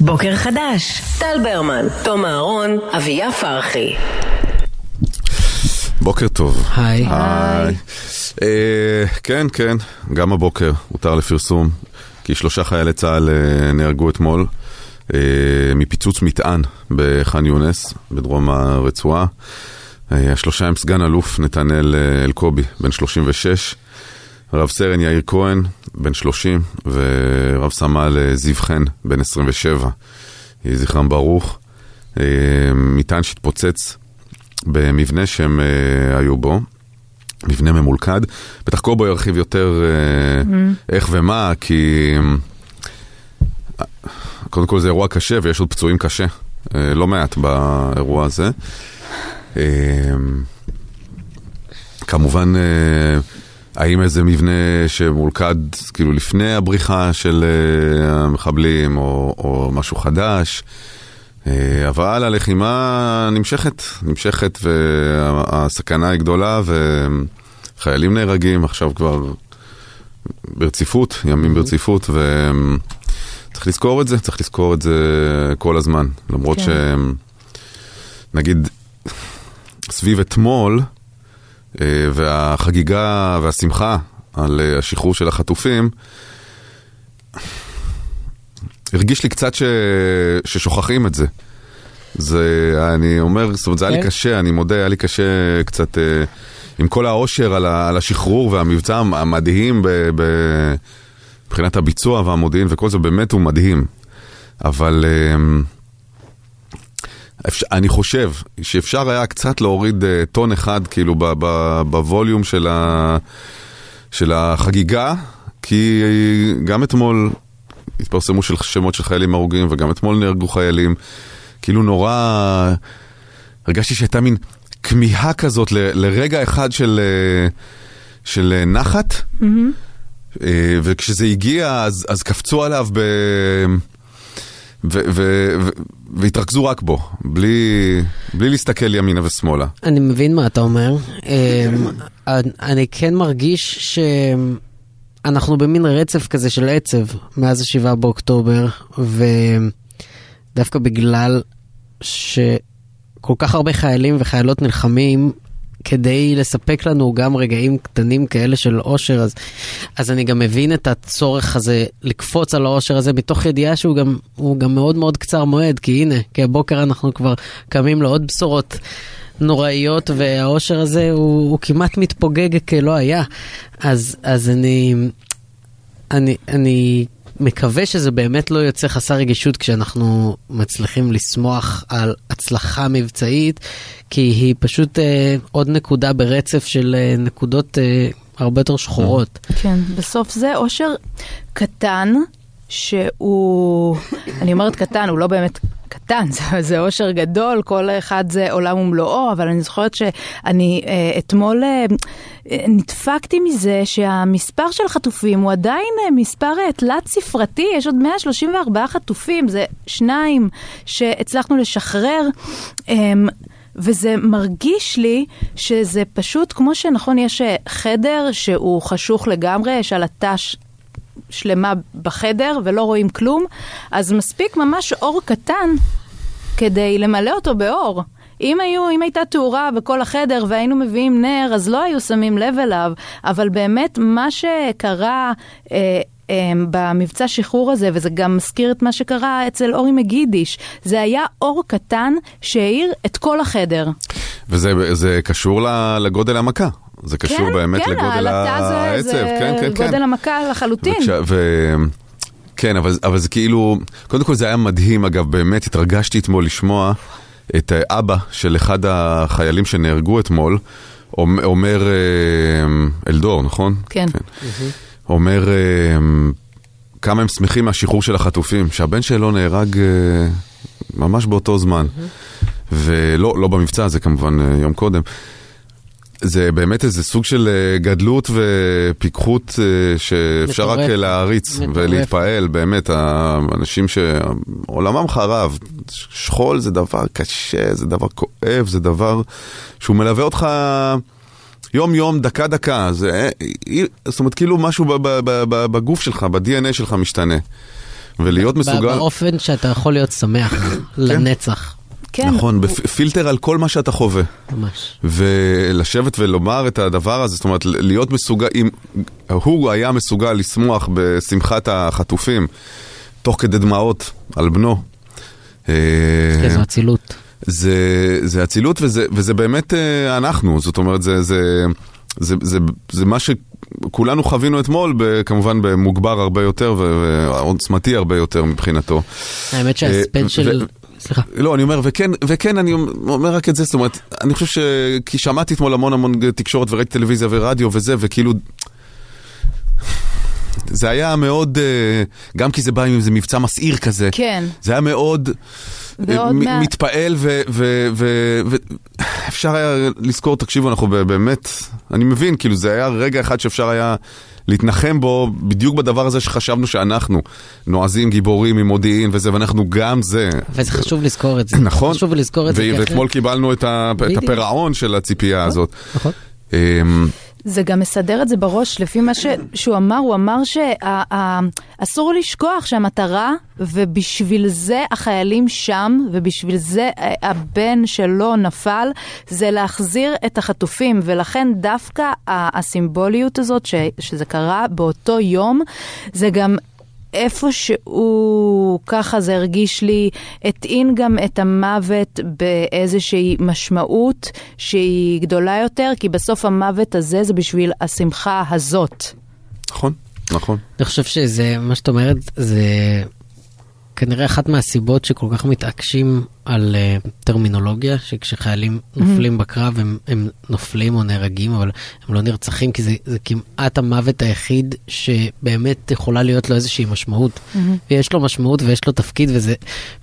בוקר חדש, טל ברמן, תום אהרון, אביה פרחי. בוקר טוב. היי. היי. אה, כן, כן, גם הבוקר הותר לפרסום, כי שלושה חיילי צה"ל אה, נהרגו אתמול אה, מפיצוץ מטען בח'אן יונס, בדרום הרצועה. אה, השלושה הם סגן אלוף נתנאל אה, אלקובי, בן 36, רב סרן יאיר כהן, בן 30, ורב סמל אה, זיו חן, בן 27. יהי זכרם ברוך. אה, מטען שהתפוצץ במבנה שהם אה, היו בו, מבנה ממולכד. בטח קובו ירחיב יותר אה, איך ומה, כי אה, קודם כל זה אירוע קשה ויש עוד פצועים קשה, אה, לא מעט באירוע הזה. אה, כמובן, אה, האם איזה מבנה שמולכד כאילו לפני הבריחה של אה, המחבלים או, או משהו חדש? אה, אבל הלחימה נמשכת, נמשכת והסכנה היא גדולה וחיילים נהרגים עכשיו כבר ברציפות, ימים ברציפות, וצריך לזכור את זה, צריך לזכור את זה כל הזמן. למרות כן. ש... נגיד, סביב אתמול, אה, והחגיגה והשמחה על אה, השחרור של החטופים, הרגיש לי קצת ש... ששוכחים את זה. זה, אני אומר, זאת אומרת, זה היה לי כן. קשה, אני מודה, היה לי קשה קצת אה, עם כל האושר על, ה... על השחרור והמבצע המדהים ב... ב... מבחינת הביצוע והמודיעין וכל זה, באמת הוא מדהים. אבל אה, אפשר, אני חושב שאפשר היה קצת להוריד אה, טון אחד, כאילו, ב, ב, בווליום של, ה, של החגיגה, כי גם אתמול התפרסמו של שמות של חיילים הרוגים, וגם אתמול נהרגו חיילים. כאילו נורא... הרגשתי שהייתה מין כמיהה כזאת ל, לרגע אחד של, אה, של אה, נחת, אה, וכשזה הגיע, אז, אז קפצו עליו ב... ו- ו- ו- והתרכזו רק בו, בלי, בלי להסתכל ימינה ושמאלה. אני מבין מה אתה אומר. אמ, אני- אני כן מרגיש שאנחנו במין רצף כזה של עצב מאז השבעה באוקטובר, ודווקא בגלל שכל כך הרבה חיילים וחיילות נלחמים כדי לספק לנו גם רגעים קטנים כאלה של אושר, אז, אז אני גם מבין את הצורך הזה לקפוץ על האושר הזה מתוך ידיעה שהוא גם, הוא גם מאוד מאוד קצר מועד, כי הנה, כי הבוקר אנחנו כבר קמים לעוד בשורות נוראיות, והאושר הזה הוא, הוא כמעט מתפוגג כלא היה. אז, אז אני, אני, אני מקווה שזה באמת לא יוצא חסר רגישות כשאנחנו מצליחים לשמוח על הצלחה מבצעית, כי היא פשוט אה, עוד נקודה ברצף של אה, נקודות אה, הרבה יותר שחורות. כן, בסוף זה אושר קטן, שהוא, אני אומרת קטן, הוא לא באמת קטן, זה, זה אושר גדול, כל אחד זה עולם ומלואו, אבל אני זוכרת שאני אה, אתמול אה, אה, נדפקתי מזה שהמספר של חטופים הוא עדיין אה, מספר אה, תלת ספרתי, יש עוד 134 חטופים, זה שניים שהצלחנו לשחרר. אה, וזה מרגיש לי שזה פשוט, כמו שנכון, יש אה, חדר שהוא חשוך לגמרי, יש עלטה ש- שלמה בחדר ולא רואים כלום, אז מספיק ממש אור קטן כדי למלא אותו באור. אם, היו, אם הייתה תאורה בכל החדר והיינו מביאים נר, אז לא היו שמים לב אליו, אבל באמת מה שקרה אה, אה, במבצע שחרור הזה, וזה גם מזכיר את מה שקרה אצל אורי מגידיש, זה היה אור קטן שהאיר את כל החדר. וזה זה קשור ל- לגודל המכה. זה קשור באמת כן, לגודל העלטה זה- העצב. זה כן, כן, כן. גודל המכה לחלוטין. וכש- ו... כן, אבל, אבל זה כאילו, קודם כל זה היה מדהים, אגב, באמת התרגשתי אתמול לשמוע את אה, אבא של אחד החיילים שנהרגו אתמול, אומ- אומר, אה, אלדור, נכון? כן. אומר אה, כמה הם שמחים מהשחרור של החטופים, שהבן שלו נהרג אה, ממש באותו זמן. ולא, לא במבצע הזה כמובן, אה, יום קודם. זה באמת איזה סוג של אה, גדלות ופיקחות אה, שאפשר רק מטורף. אה, להעריץ מטורף. ולהתפעל, באמת, האנשים שעולמם חרב, שכול זה דבר קשה, זה דבר כואב, זה דבר שהוא מלווה אותך יום-יום, דקה-דקה, זה, אה, אי- זאת אומרת, כאילו משהו ב- ב- ב- ב- בגוף שלך, ב-DNA שלך משתנה. ולהיות מסוגל... כן. באופן שאתה יכול להיות שמח לנצח, כן. נכון, בפילטר על כל מה שאתה חווה. ממש. ולשבת ולומר את הדבר הזה, זאת אומרת, להיות מסוגל, אם הוא היה מסוגל לשמוח בשמחת החטופים, תוך כדי דמעות על בנו. אה, כן, זו אצילות. זה, זה אצילות וזה, וזה באמת אה, אנחנו, זאת אומרת, זה, זה, זה, זה, זה מה שכולנו חווינו אתמול, ב- כמובן במוגבר הרבה יותר ו- ועוצמתי הרבה יותר מבחינתו. האמת שההספד אה, של... ו- סליחה. לא, אני אומר, וכן, וכן, אני אומר רק את זה, זאת אומרת, אני חושב ש... כי שמעתי אתמול המון המון תקשורת וראיתי טלוויזיה ורדיו וזה, וכאילו... זה היה מאוד, אה, גם כי זה בא עם איזה מבצע מסעיר כזה. כן. זה היה מאוד ועוד אה, מ- מה- מתפעל, ו- ו- ו- ו- אפשר היה לזכור, תקשיבו, אנחנו ב- באמת, אני מבין, כאילו זה היה רגע אחד שאפשר היה להתנחם בו, בדיוק בדבר הזה שחשבנו שאנחנו נועזים גיבורים ממודיעין וזה, ואנחנו גם זה. וזה חשוב לזכור את זה. נכון. חשוב לזכור את זה. ו- כי אחרת- ואתמול קיבלנו את ה- את בדיוק. הפירעון של הציפייה הזאת. נכון. אמ, זה גם מסדר את זה בראש, לפי מה ש... שהוא אמר, הוא אמר שאסור לשכוח שהמטרה, ובשביל זה החיילים שם, ובשביל זה אה, הבן שלו נפל, זה להחזיר את החטופים, ולכן דווקא ה- הסימבוליות הזאת, ש... שזה קרה באותו יום, זה גם... איפשהו ככה זה הרגיש לי, הטעין גם את המוות באיזושהי משמעות שהיא גדולה יותר, כי בסוף המוות הזה זה בשביל השמחה הזאת. נכון, נכון. אני חושב שזה, מה שאת אומרת, זה כנראה אחת מהסיבות שכל כך מתעקשים על uh, טרמינולוגיה, שכשחיילים נופלים בקרב הם, הם נופלים או נהרגים, אבל הם לא נרצחים, כי זה, זה כמעט המוות היחיד שבאמת יכולה להיות לו איזושהי משמעות. ויש לו משמעות ויש לו תפקיד, וזה,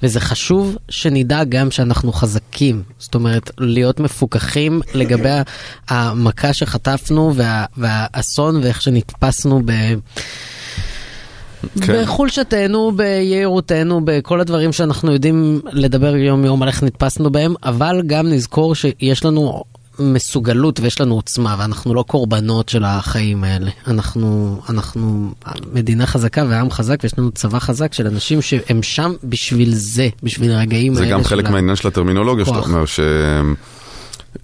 וזה חשוב שנדע גם שאנחנו חזקים. זאת אומרת, להיות מפוקחים לגבי ה- המכה שחטפנו וה, והאסון ואיך שנתפסנו ב... כן. בחולשתנו, ביהירותנו, בכל הדברים שאנחנו יודעים לדבר יום יום על איך נתפסנו בהם, אבל גם נזכור שיש לנו מסוגלות ויש לנו עוצמה, ואנחנו לא קורבנות של החיים האלה. אנחנו, אנחנו מדינה חזקה ועם חזק, ויש לנו צבא חזק של אנשים שהם שם בשביל זה, בשביל הרגעים זה האלה. גם של חלק ה- מהעניין של הטרמינולוגיה שאתה כוח. אומר, ש...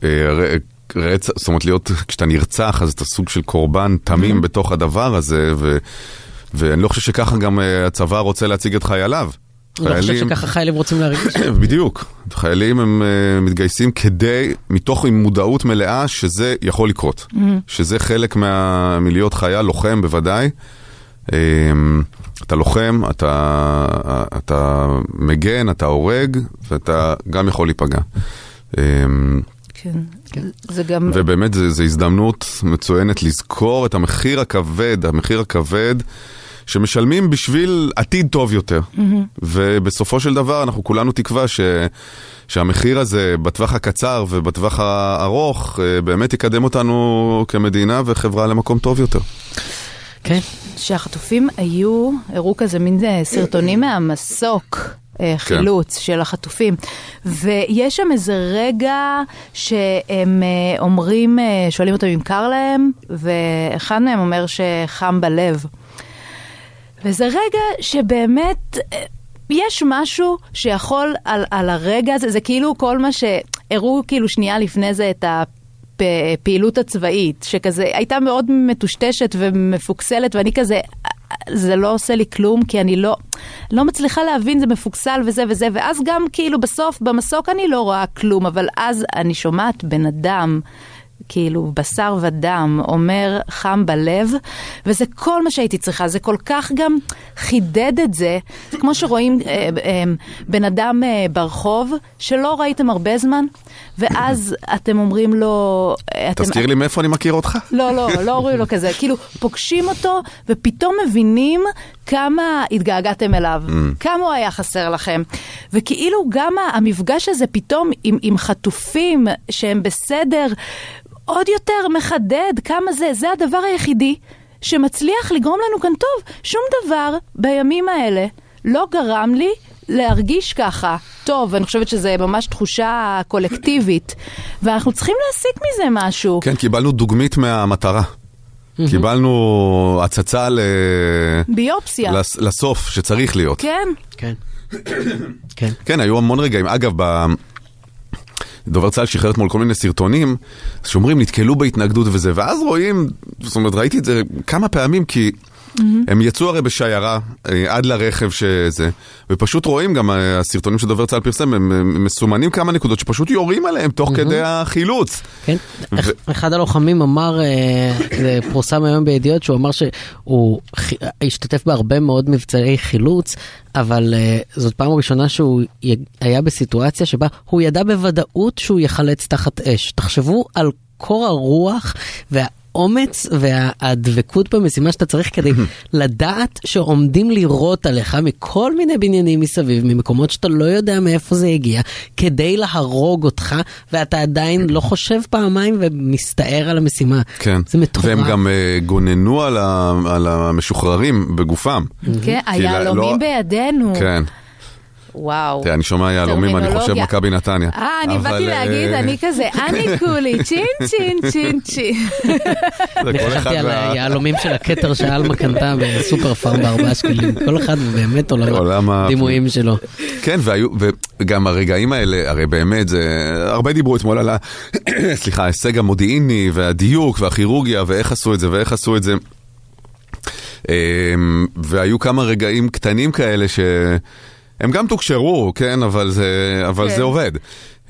אה, ר- רצח, זאת אומרת להיות, כשאתה נרצח אז אתה סוג של קורבן Mm-hmm. תמים בתוך הדבר הזה, ו... ואני לא חושב שככה גם אה, הצבא רוצה להציג את חייליו. אני לא חושב חיילים- שככה חיילים רוצים להרגיש. בדיוק. חיילים הם אה, מתגייסים כדי, מתוך עם מודעות מלאה שזה יכול לקרות. שזה חלק מה- מלהיות חייל, לוחם בוודאי. אה, אתה לוחם, אתה, אתה מגן, אתה הורג, ואתה גם יכול להיפגע. אה, כן. זה גם... ובאמת זו הזדמנות מצוינת לזכור את המחיר הכבד, המחיר הכבד שמשלמים בשביל עתיד טוב יותר. ובסופו של דבר אנחנו כולנו תקווה ש... שהמחיר הזה בטווח הקצר ובטווח הארוך אה, באמת יקדם אותנו כמדינה וחברה למקום טוב יותר. כן, שהחטופים היו, הראו כזה מין אה, סרטונים מהמסוק. אה, חילוץ של החטופים. ויש שם איזה רגע שהם אה, אומרים, אה, שואלים אותם אם קר להם, ואחד מהם אומר שחם בלב. וזה רגע שבאמת, אה, יש משהו שיכול על, על הרגע הזה, זה כאילו כל מה שהראו כאילו שנייה לפני זה את הפעילות הצבאית, שכזה הייתה מאוד מטושטשת ומפוקסלת, ואני כזה, "אה, זה לא עושה לי כלום, כי אני לא, לא מצליחה להבין, זה מפוקסל וזה וזה, ואז גם כאילו בסוף במסוק אני לא רואה כלום, אבל אז אני שומעת בן אדם. כאילו בשר ודם, אומר חם בלב, וזה כל מה שהייתי צריכה, זה כל כך גם חידד את זה, זה כמו שרואים אה, אה, בן אדם אה, ברחוב, שלא ראיתם הרבה זמן, ואז אתם אומרים לו... אה, אתם- תזכיר לי מאיפה אני מכיר אותך? לא, לא, לא אומרים לו כזה, כאילו, פוגשים אותו ופתאום מבינים כמה התגעגעתם אליו, כמה הוא היה חסר לכם. וכאילו גם המפגש הזה פתאום עם, עם חטופים שהם בסדר, עוד יותר מחדד כמה זה, זה הדבר היחידי שמצליח לגרום לנו כאן טוב. שום דבר בימים האלה לא גרם לי להרגיש ככה. טוב, אני חושבת שזה ממש תחושה קולקטיבית, ואנחנו צריכים להסיק מזה משהו. כן, קיבלנו דוגמית מהמטרה. קיבלנו הצצה ל... ביופסיה. לס- לסוף שצריך להיות. כן, כן. כן. כן, היו המון רגעים. אגב, ב... דובר צה"ל שחרר אתמול כל מיני סרטונים שאומרים נתקלו בהתנגדות וזה, ואז רואים, זאת אומרת ראיתי את זה כמה פעמים כי הם יצאו הרי בשיירה אה, עד לרכב שזה, ופשוט רואים גם אה, הסרטונים שדובר צה"ל פרסם, הם אה, מסומנים כמה נקודות שפשוט יורים עליהם תוך כדי החילוץ. כן, ו- אחד הלוחמים אמר, אה, זה פורסם היום בידיעות, שהוא אמר שהוא חי- השתתף בהרבה מאוד מבצעי חילוץ, אבל אה, זאת פעם ראשונה שהוא י- היה בסיטואציה שבה הוא ידע בוודאות שהוא יחלץ תחת אש. תחשבו על קור הרוח והאומץ והדבקות במשימה שאתה צריך כדי לדעת שעומדים לירות עליך מכל מיני בניינים מסביב, ממקומות שאתה לא יודע מאיפה זה הגיע, כדי להרוג אותך, ואתה עדיין לא חושב פעמיים ומסתער על המשימה. כן. זה מטורף. והם גם אה, גוננו על, ה, על המשוחררים בגופם. כן, כי לא- היהלומים לא- בידינו. כן. וואו. תראה, אני שומע יהלומים, אני חושב טרמינולוגיה. מכבי נתניה. אה, אני אבל, באתי אה, להגיד, אני כזה, אני כולי, צ'ין, צ'ין, צ'ין, צ'ין. זה אני כל אחד חשבתי על וה- היהלומים של הכתר שאלמה קנתה בסופר פארם בארבעה שקלים, כל אחד ובאמת עולם עולם ה- הדימויים שלו. כן, והיו, וגם הרגעים האלה, הרי באמת, זה, הרבה דיברו אתמול על ה... סליחה, ההישג המודיעיני והדיוק והכירורגיה ואיך עשו את זה ואיך עשו את זה. אמ, והיו כמה רגעים קטנים כאלה שהם גם תוקשרו, כן, אבל זה, אבל כן. זה עובד.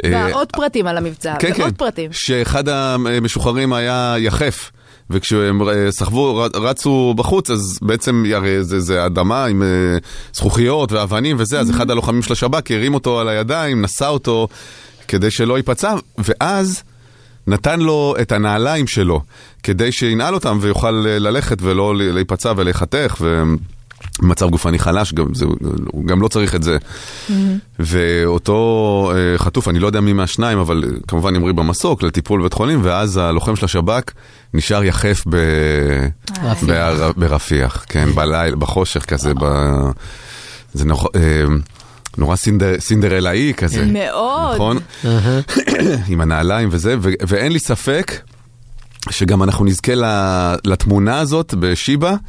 אה, ועוד פרטים על המבצע, כן, כן, ועוד פרטים. שאחד המשוחררים היה יחף. וכשהם אה, סחבו, ר- רצו בחוץ, אז בעצם, אה, הרי זה, זה אדמה עם אה, זכוכיות ואבנים וזה, Mm-hmm. אז אחד הלוחמים של השב"כ הרים אותו על הידיים, נשא אותו כדי שלא ייפצע, ואז נתן לו את הנעליים שלו, כדי שינעל אותם ויוכל אה, ללכת ולא ל- להיפצע ולהיחתך, ומצב גופני חלש, גם, זה, הוא גם לא צריך את זה. ואותו אה, חטוף, אני לא יודע מי מהשניים, אבל אה, כמובן המריא במסוק לטיפול בבית חולים, ואז הלוחם של השב"כ נשאר יחף ב... רפיח. בר... ברפיח, כן, בלילה, בחושך כזה, ב... זה נוח... אה, נורא סינדר... סינדרלאי כזה. מאוד. נכון? אהה. עם הנעליים וזה, ו- ואין לי ספק שגם אנחנו נזכה ל- לתמונה הזאת בשיבא. בטח.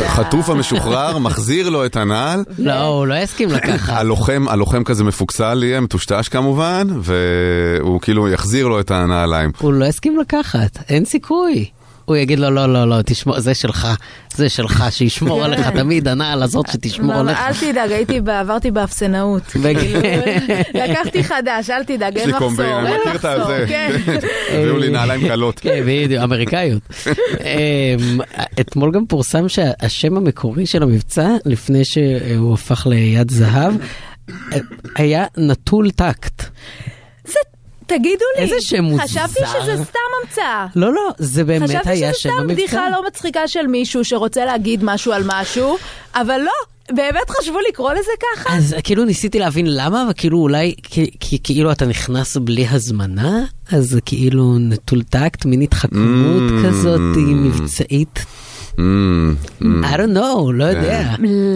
שהחטוף המשוחרר מחזיר לו את הנעל, לא, הוא לא יסכים לקחת. הלוחם, הלוחם כזה מפוקסל יהיה, מטושטש כמובן, והוא כאילו יחזיר לו את הנעליים. הוא לא יסכים לקחת, אין סיכוי. הוא יגיד לו, לא, לא, לא, תשמור, זה שלך, זה שלך, שישמור עליך כן. תמיד, הנעל הזאת שתשמור אמר, עליך. לא, אל תדאג, הייתי, ב- עברתי באפסנאות. כאילו, לקחתי חדש, אל תדאג, יש אין לי מחסור. קומבינה, אני אין מכיר את מחסור, הזה. כן. הביאו לי נעליים קלות. כן, בדיוק, אמריקאיות. אמ, אתמול גם פורסם שהשם המקורי של המבצע, לפני שהוא הפך ליד זהב, היה נטול טקט. תגידו לי, איזה שם מוזר. חשבתי שזה סתם המצאה. לא, לא, זה באמת חשבתי היה שזה שם סתם המבצע. בדיחה לא מצחיקה של מישהו שרוצה להגיד משהו על משהו, אבל לא, באמת חשבו לקרוא לזה ככה? אז כאילו ניסיתי להבין למה, וכאילו אולי, כי- כי כאילו אתה נכנס בלי הזמנה, אז זה כאילו נטול טקט, מין התחכמות Mm. כזאת היא מבצעית. Mm, mm. I don't know, לא יודע.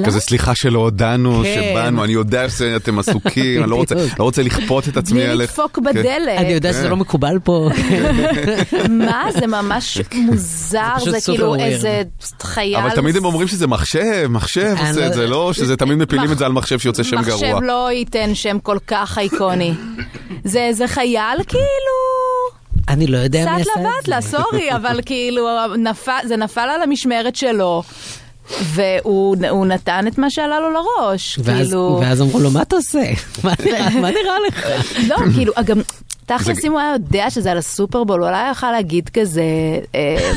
כזה סליחה שלא הודענו, כן. שבאנו, אני יודע שאתם עסוקים, אני לא רוצה- בדיוק. לא רוצה לכפות את עצמי בלי עליך. לדפוק כן. בדלת. אני יודע שזה לא מקובל פה. מה? זה ממש מוזר, פשוט זה סופר כאילו weird. איזה חייל... אבל תמיד הם אומרים שזה מחשב, מחשב אני עושה לא- את זה, לא שזה תמיד מפילים מח- את זה על מחשב שיוצא שם גרוע. מחשב לא ייתן שם כל כך אייקוני. זה איזה חייל כאילו... אני לא יודע מי עשה סטלה את זה. בטלה, סורי, אבל כאילו, נפל- זה נפל על המשמרת שלו. והוא הוא נתן את מה שעלה לו לראש, ואז- כאילו... ואז אמרו לו, מה אתה עושה? מה נראה- מה נראה לך? לא, כאילו, גם... תכלס, אם הוא היה יודע שזה על הסופרבול, הוא אולי יכל להגיד כזה, אה,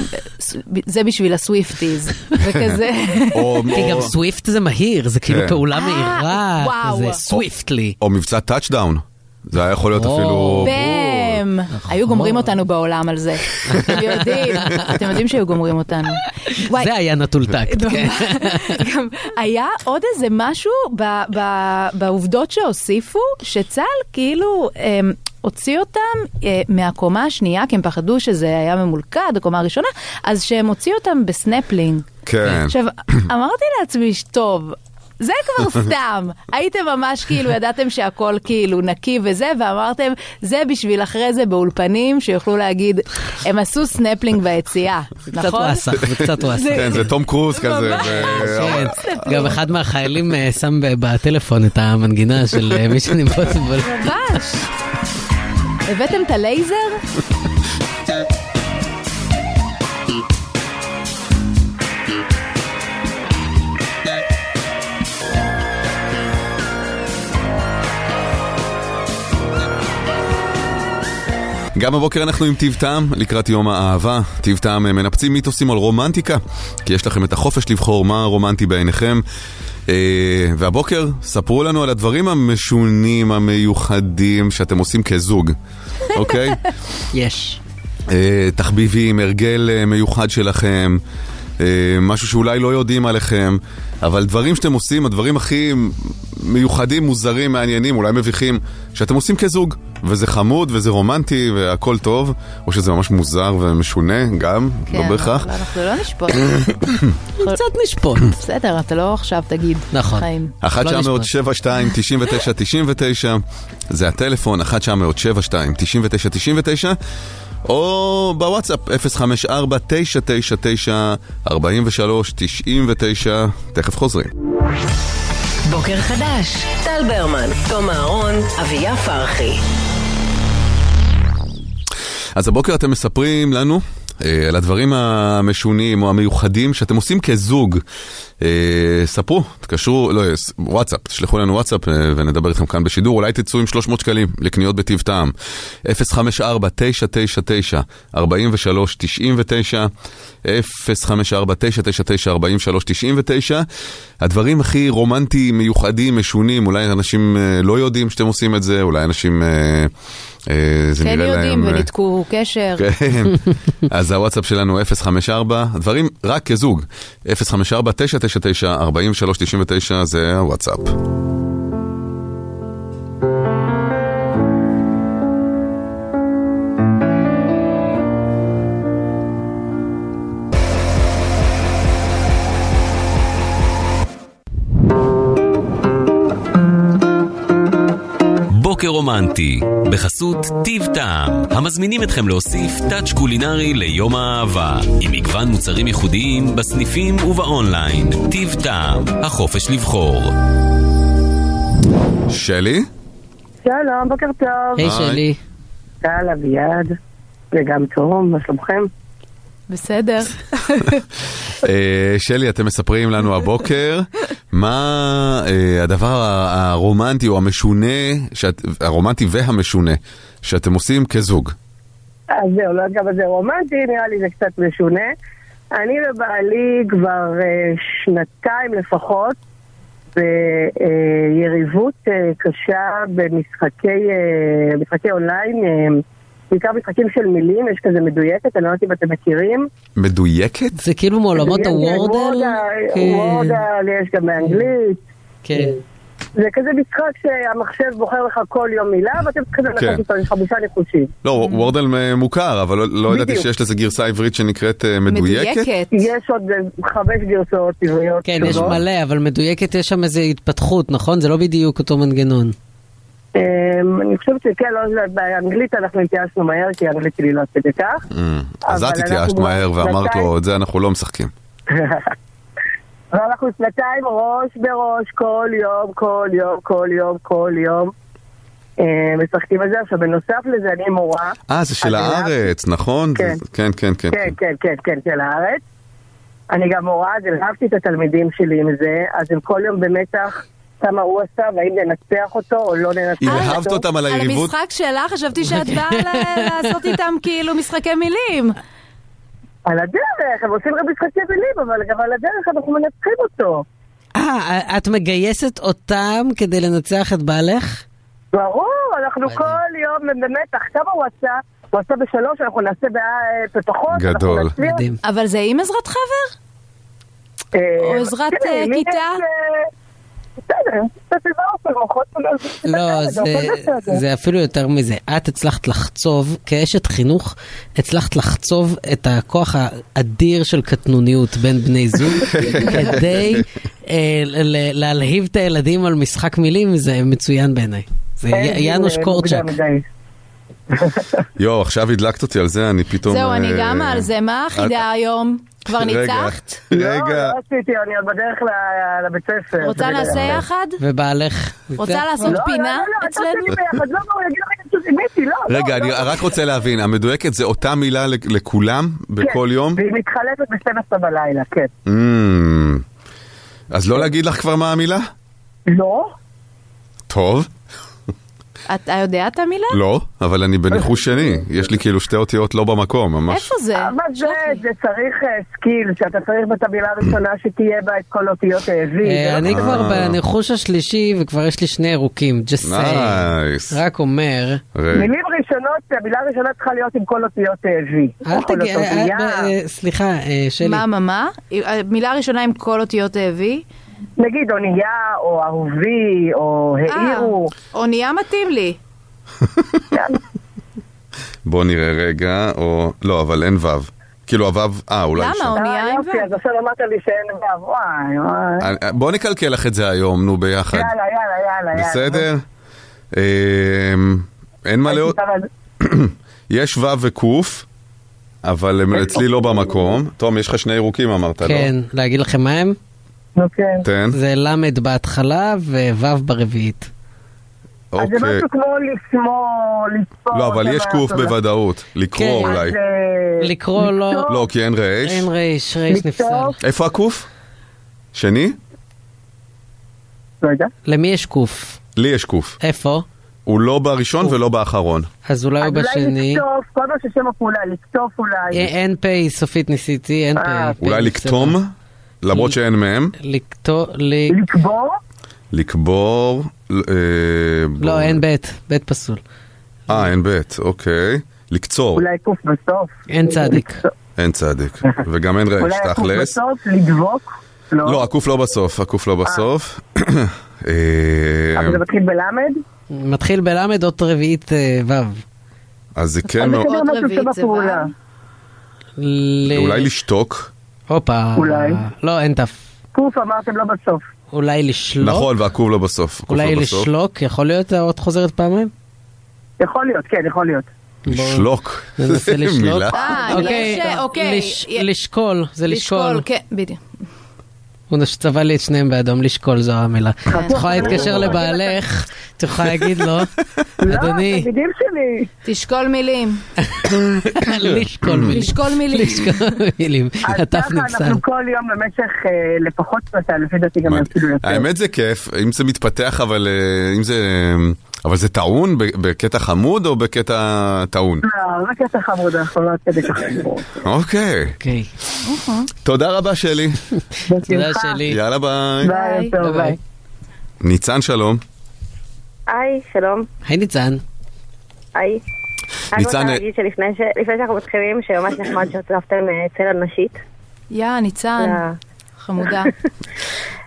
זה בשביל הסוויפטיז, וכזה. או- כי גם או- סוויפט זה מהיר, זה כאילו כן. פעולה אה, מהירה, וואו. זה סוויפטלי. או מבצע טאצ'דאון. זה היה יכול להיות או, אפילו... בם! היו גומרים אותנו בעולם על זה. אתם יודעים, אתם יודעים שהיו גומרים אותנו. וואי, זה היה נטול טקט, כן. גם היה עוד איזה משהו ב- ב- בעובדות שהוסיפו, שצה"ל כאילו אמ, הוציא אותם אה, מהקומה השנייה, כי הם פחדו שזה היה ממולכד, הקומה הראשונה, אז שהם הוציאו אותם בסנפלינג. כן. עכשיו, אמרתי לעצמי, טוב, זה כבר סתם. הייתם ממש כאילו, ידעתם שהכל כאילו נקי וזה, ואמרתם, זה בשביל אחרי זה באולפנים, שיוכלו להגיד, הם עשו סנפלינג ביציאה, זה קצת נכון? וואסך, זה קצת וואסך. כן, זה תום קרוז כזה. ממש. ו- כן, גם אחד מהחיילים אה, שם ב- בטלפון את המנגינה של אה, מי שנמרוד בו. ממש. הבאתם את הלייזר? גם הבוקר אנחנו עם טיב טעם, לקראת יום האהבה. טיב טעם אה, מנפצים מיתוסים על רומנטיקה, כי יש לכם את החופש לבחור מה רומנטי בעיניכם. אה, והבוקר, ספרו לנו על הדברים המשונים, המיוחדים, שאתם עושים כזוג, אוקיי? יש. אה, תחביבים, הרגל אה, מיוחד שלכם, אה, משהו שאולי לא יודעים עליכם, אבל דברים שאתם עושים, הדברים הכי מיוחדים, מוזרים, מעניינים, אולי מביכים, שאתם עושים כזוג, וזה חמוד וזה רומנטי והכל טוב, או שזה ממש מוזר ומשונה גם, לא בהכרח. אבל אנחנו לא נשפוט. קצת נשפוט. בסדר, אתה לא עכשיו תגיד. נכון. חיים. 1 לא 900 72 99 99 זה הטלפון, 1 900 72 99 99 או בוואטסאפ, 054 999 43 99 תכף חוזרים. בוקר חדש, טל ברמן, תום אהרון, אביה פרחי. אז הבוקר אתם מספרים לנו אה, על הדברים המשונים או המיוחדים שאתם עושים כזוג. אה, ספרו, תקשרו, לא, אה, ס- וואטסאפ, תשלחו לנו וואטסאפ אה, ונדבר איתכם כאן בשידור, אולי תצאו עם 300 שקלים לקניות בטיב טעם. 054-999-4399, 054-999-4399, הדברים הכי רומנטיים, מיוחדים, משונים, אולי אנשים אה, לא יודעים שאתם עושים את זה, אולי אנשים... אה, אה, זה כן נראה יודעים, להם, אה, וניתקו קשר. כן, אז הוואטסאפ שלנו 054, דברים רק כזוג, 054-999-4399 זה הוואטסאפ. בוקר רומנטי, בחסות טיב טעם, המזמינים אתכם להוסיף טאץ' קולינרי ליום האהבה, עם מגוון מוצרים ייחודיים בסניפים ובאונליין. טיב טעם, החופש לבחור. שלי? שלום, בוקר טוב. היי היי. שלי, יאללה, ביד. וגם תום, מה שלומכם? בסדר. אה, שלי, אתם מספרים לנו הבוקר מה אה, הדבר ה- הרומנטי או המשונה, שאת- הרומנטי והמשונה, שאתם עושים כזוג. אז זהו, לא יודעת כמה זה רומנטי, נראה לי זה קצת משונה. אני ובעלי כבר אה, שנתיים לפחות ביריבות אה, קשה במשחקי אה, משחקי אונליין, אה, בעיקר משחקים של מילים, יש כזה מדויקת, אני לא יודעת אם אתם מכירים. מדויקת? זה כאילו מעולמות יש, אה, הוורדל? וורדל, כן, וורדל, יש גם באנגלית. כן. זה כזה משחק שהמחשב בוחר לך כל יום מילה, ואתם צריכים כן. ללכת איתו עם חמישה ניחושים. לא, וורדל אה, מוכר, אבל לא- לא ידעתי Mm. בדיוק. שיש לזה גרסה עברית שנקראת אה, מדויקת. מדויקת. יש עוד אה, חמש גרסאות עבריות כן, יש שונות. מלא, אבל מדויקת יש שם איזו התפתחות, נכון? זה לא בדיוק אותו מנגנון. אמ, אני חושבת שכן, לא יודעת, באנגלית אנחנו התייאשנו מהר, כי האנגלית שלי לא עד כדי כך. אה, אז אבל את התייאשת אנחנו מהר ואמרת שנתיים- לו, את זה אנחנו לא משחקים. ואנחנו שנתיים ראש בראש, כל יום, כל יום, כל יום, כל יום. אמ, משחקים על זה. עכשיו, בנוסף לזה, אני מורה. אה, זה של אז אליו? הארץ, נכון? כן. זה- כן, כן, כן. כן, כן, כן, כן, של הארץ. אני גם מורה, אז הרחבתי את התלמידים שלי עם זה, אז הם כל יום במתח כמה הוא עשה, והאם ננצח אותו או לא ננצח אותו. הרהבת אותם על על היריבות? אוקיי. המשחק שלך, חשבתי שאת באה ל- לעשות איתם כאילו משחקי מילים. על הדרך, הם עושים גם משחקי מילים, אבל גם על הדרך אנחנו מנצחים אותו. אה, את מגייסת אותם כדי לנצח את בעלך? ברור, אנחנו כל יום במתח, כמה הוא עשה? הוא עשה בשלוש, אנחנו נעשה בע- בפחות. אנחנו גדול. נצליח. מדהים. אבל זה עם עזרת חבר? אה, או עזרת, כן, אה, מי כיתה? יש, אה, בסדר, בסדר, קצת איזה אופן, מוחות מלא, זה בסדר, לא, זה הכל בסדר. זה, זה אפילו יותר מזה. את הצלחת לחצוב, כאשת חינוך, הצלחת לחצוב את הכוח האדיר של קטנוניות בין בני זוג, כדי אה, ל- ל- להלהיב את הילדים על משחק מילים, זה מצוין בעיניי. זה אין י- לי, יאנוש אה, קורצ'אק. מוקדם מדי. יואו, עכשיו הדלקת אותי על זה, אני פתאום... זהו, אני אה, גם על זה. מה החידה היום? כבר רגע, ניצחת? לא, רגע, לא עשיתי, אני עוד בדרך ל- לבית ספר. רוצה נעשה יחד? ובעלך. רוצה לעשות לא, לא, פינה לא, לא, אל תעשה אצלנו? לי ביחד, לא, לא, הוא יגיד לך שרימיתי, לא, לא, רגע, אני לא. רק רוצה להבין, המדויקת זה אותה מילה לכ- לכולם כן. בכל יום? והיא מתחלפת ב-12 בלילה, כן. אמ, אז לא להגיד לך כבר מה המילה? לא? טוב, אתה יודע את המילה? לא, אבל אני בניחוש שני, יש לי כאילו שתי אותיות לא במקום, ממש. איפה זה? אבל זה, שלח לי. זה צריך אה, סקיל, שאתה צריך את המילה הראשונה שתהיה בה את כל אותיות האבי. אה, אני כבר בניחוש השלישי וכבר יש לי שני ירוקים, just saying. נייס. רק אומר, רגע. אה. מילים ראשונות, המילה הראשונה צריכה להיות עם כל אותיות האבי. אל תגיד, אה, אה, אה, סליחה, אה, שלי. מה, מה, מה? מילה ראשונה עם כל אותיות האבי. נגיד אונייה, או אהובי, או אה, העירו. אונייה מתאים לי. בוא נראה רגע, או... לא, אבל אין וו. כאילו הוו... אה, אולי למה? שם. אונייה אה, עם יופי, ו'. אז עכשיו אמרת לי שאין ו', וואי, וואי. אה, בוא נקלקל לך את זה היום, נו, ביחד. יאללה, יאללה, יאללה. יאללה. בסדר? אמ, אין מה לאות... אבל- יש ו' וק', אבל הם אצלי לא במקום. תום, יש לך שני ירוקים אמרת, לא? כן, להגיד לכם מה הם? נו כן. תן. זה ל' בהתחלה וו' ברביעית. אז זה אוקיי. משהו כמו לשמור, לספור. לא, אבל יש דבר, ק' תודה. בוודאות. לקרוא כן. אולי. אז, אה, לקרוא לא- לקטוף, לא, כי אין רייש. אין רייש, רייש נפסל. לקטוף, איפה הק'? שני? לא יודע. למי יש קוף? לי יש ק'. איפה? הוא לא בראשון ולא באחרון. אז אולי הוא אז אולי בשני. לקטוף, כל מה ששם הפעולה, לקטוף אה, אולי. אין פ' סופית ניסיתי, אין אוקיי, אה, פ'. אולי לקטום, למרות שאין מהם. לקטום, ל- לקבור? לקבור... אה, בוא- לא, אין ב', ב' פסול. אה, אין בית, אוקיי. לקצור, אולי קוף בסוף. אין צדיק. אין צדיק. וגם אין רייש, אולי הקוף תכלס. בסוף, לדבוק? לא, הקוף לא בסוף, הקוף לא בסוף. אה, אבל זה מתחיל בלמד? מתחיל בל' אות רביעית אה, ו'. אז זה כן אז זה מאוד... כנראה עוד משהו רביעית זה שבפעולה. ל- אולי לשתוק, הופה. אולי. לא, אין ת'. קוף אמרתם לא בסוף. אולי לשלוק. נכון, והקוף לא בסוף. הקוף אולי לא בסוף. לשלוק, יכול להיות האות חוזרת פעמיים? יכול להיות, כן, יכול להיות. לשלוק. ננסה זה לשלוק. מילה. אה, יש, אה, אוקיי. לש- י- לשקול, זה לשקול. כן, בדיוק. הוא נש- צבע לי את שניהם באדום, לשקול זו המילה. את יכולה כן. להתקשר לבעלך, את יכולה להגיד לו, לא, אדוני, תלמידים שלי. תשקול מילים. לשקול מילים. לשקול מילים. לשקול מילים. אז הטף ככה נפסל. אנחנו כל יום במשך אה, לפחות שנתיים, לפי דעתי גם אפילו יותר. האמת זה כיף, אם זה מתפתח, אבל אה, אם זה... אבל זה טעון ב- בקטע חמוד או בקטע טעון? לא, רק עשר חמוד, אנחנו לא עד כדי כך חמוד. אוקיי. אוקיי, תודה רבה שלי. תודה שלי. יאללה ביי. ביי, יום טוב, ביי. ביי. ניצן שלום. היי, שלום. היי ניצן, היי. אני ניצן, רוצה אה, להגיד שלפני ש- לפני שאנחנו מתחילים, שממש נחמד שהוצפתם אה, צלע נשית. יא, ניצן, ל- חמודה.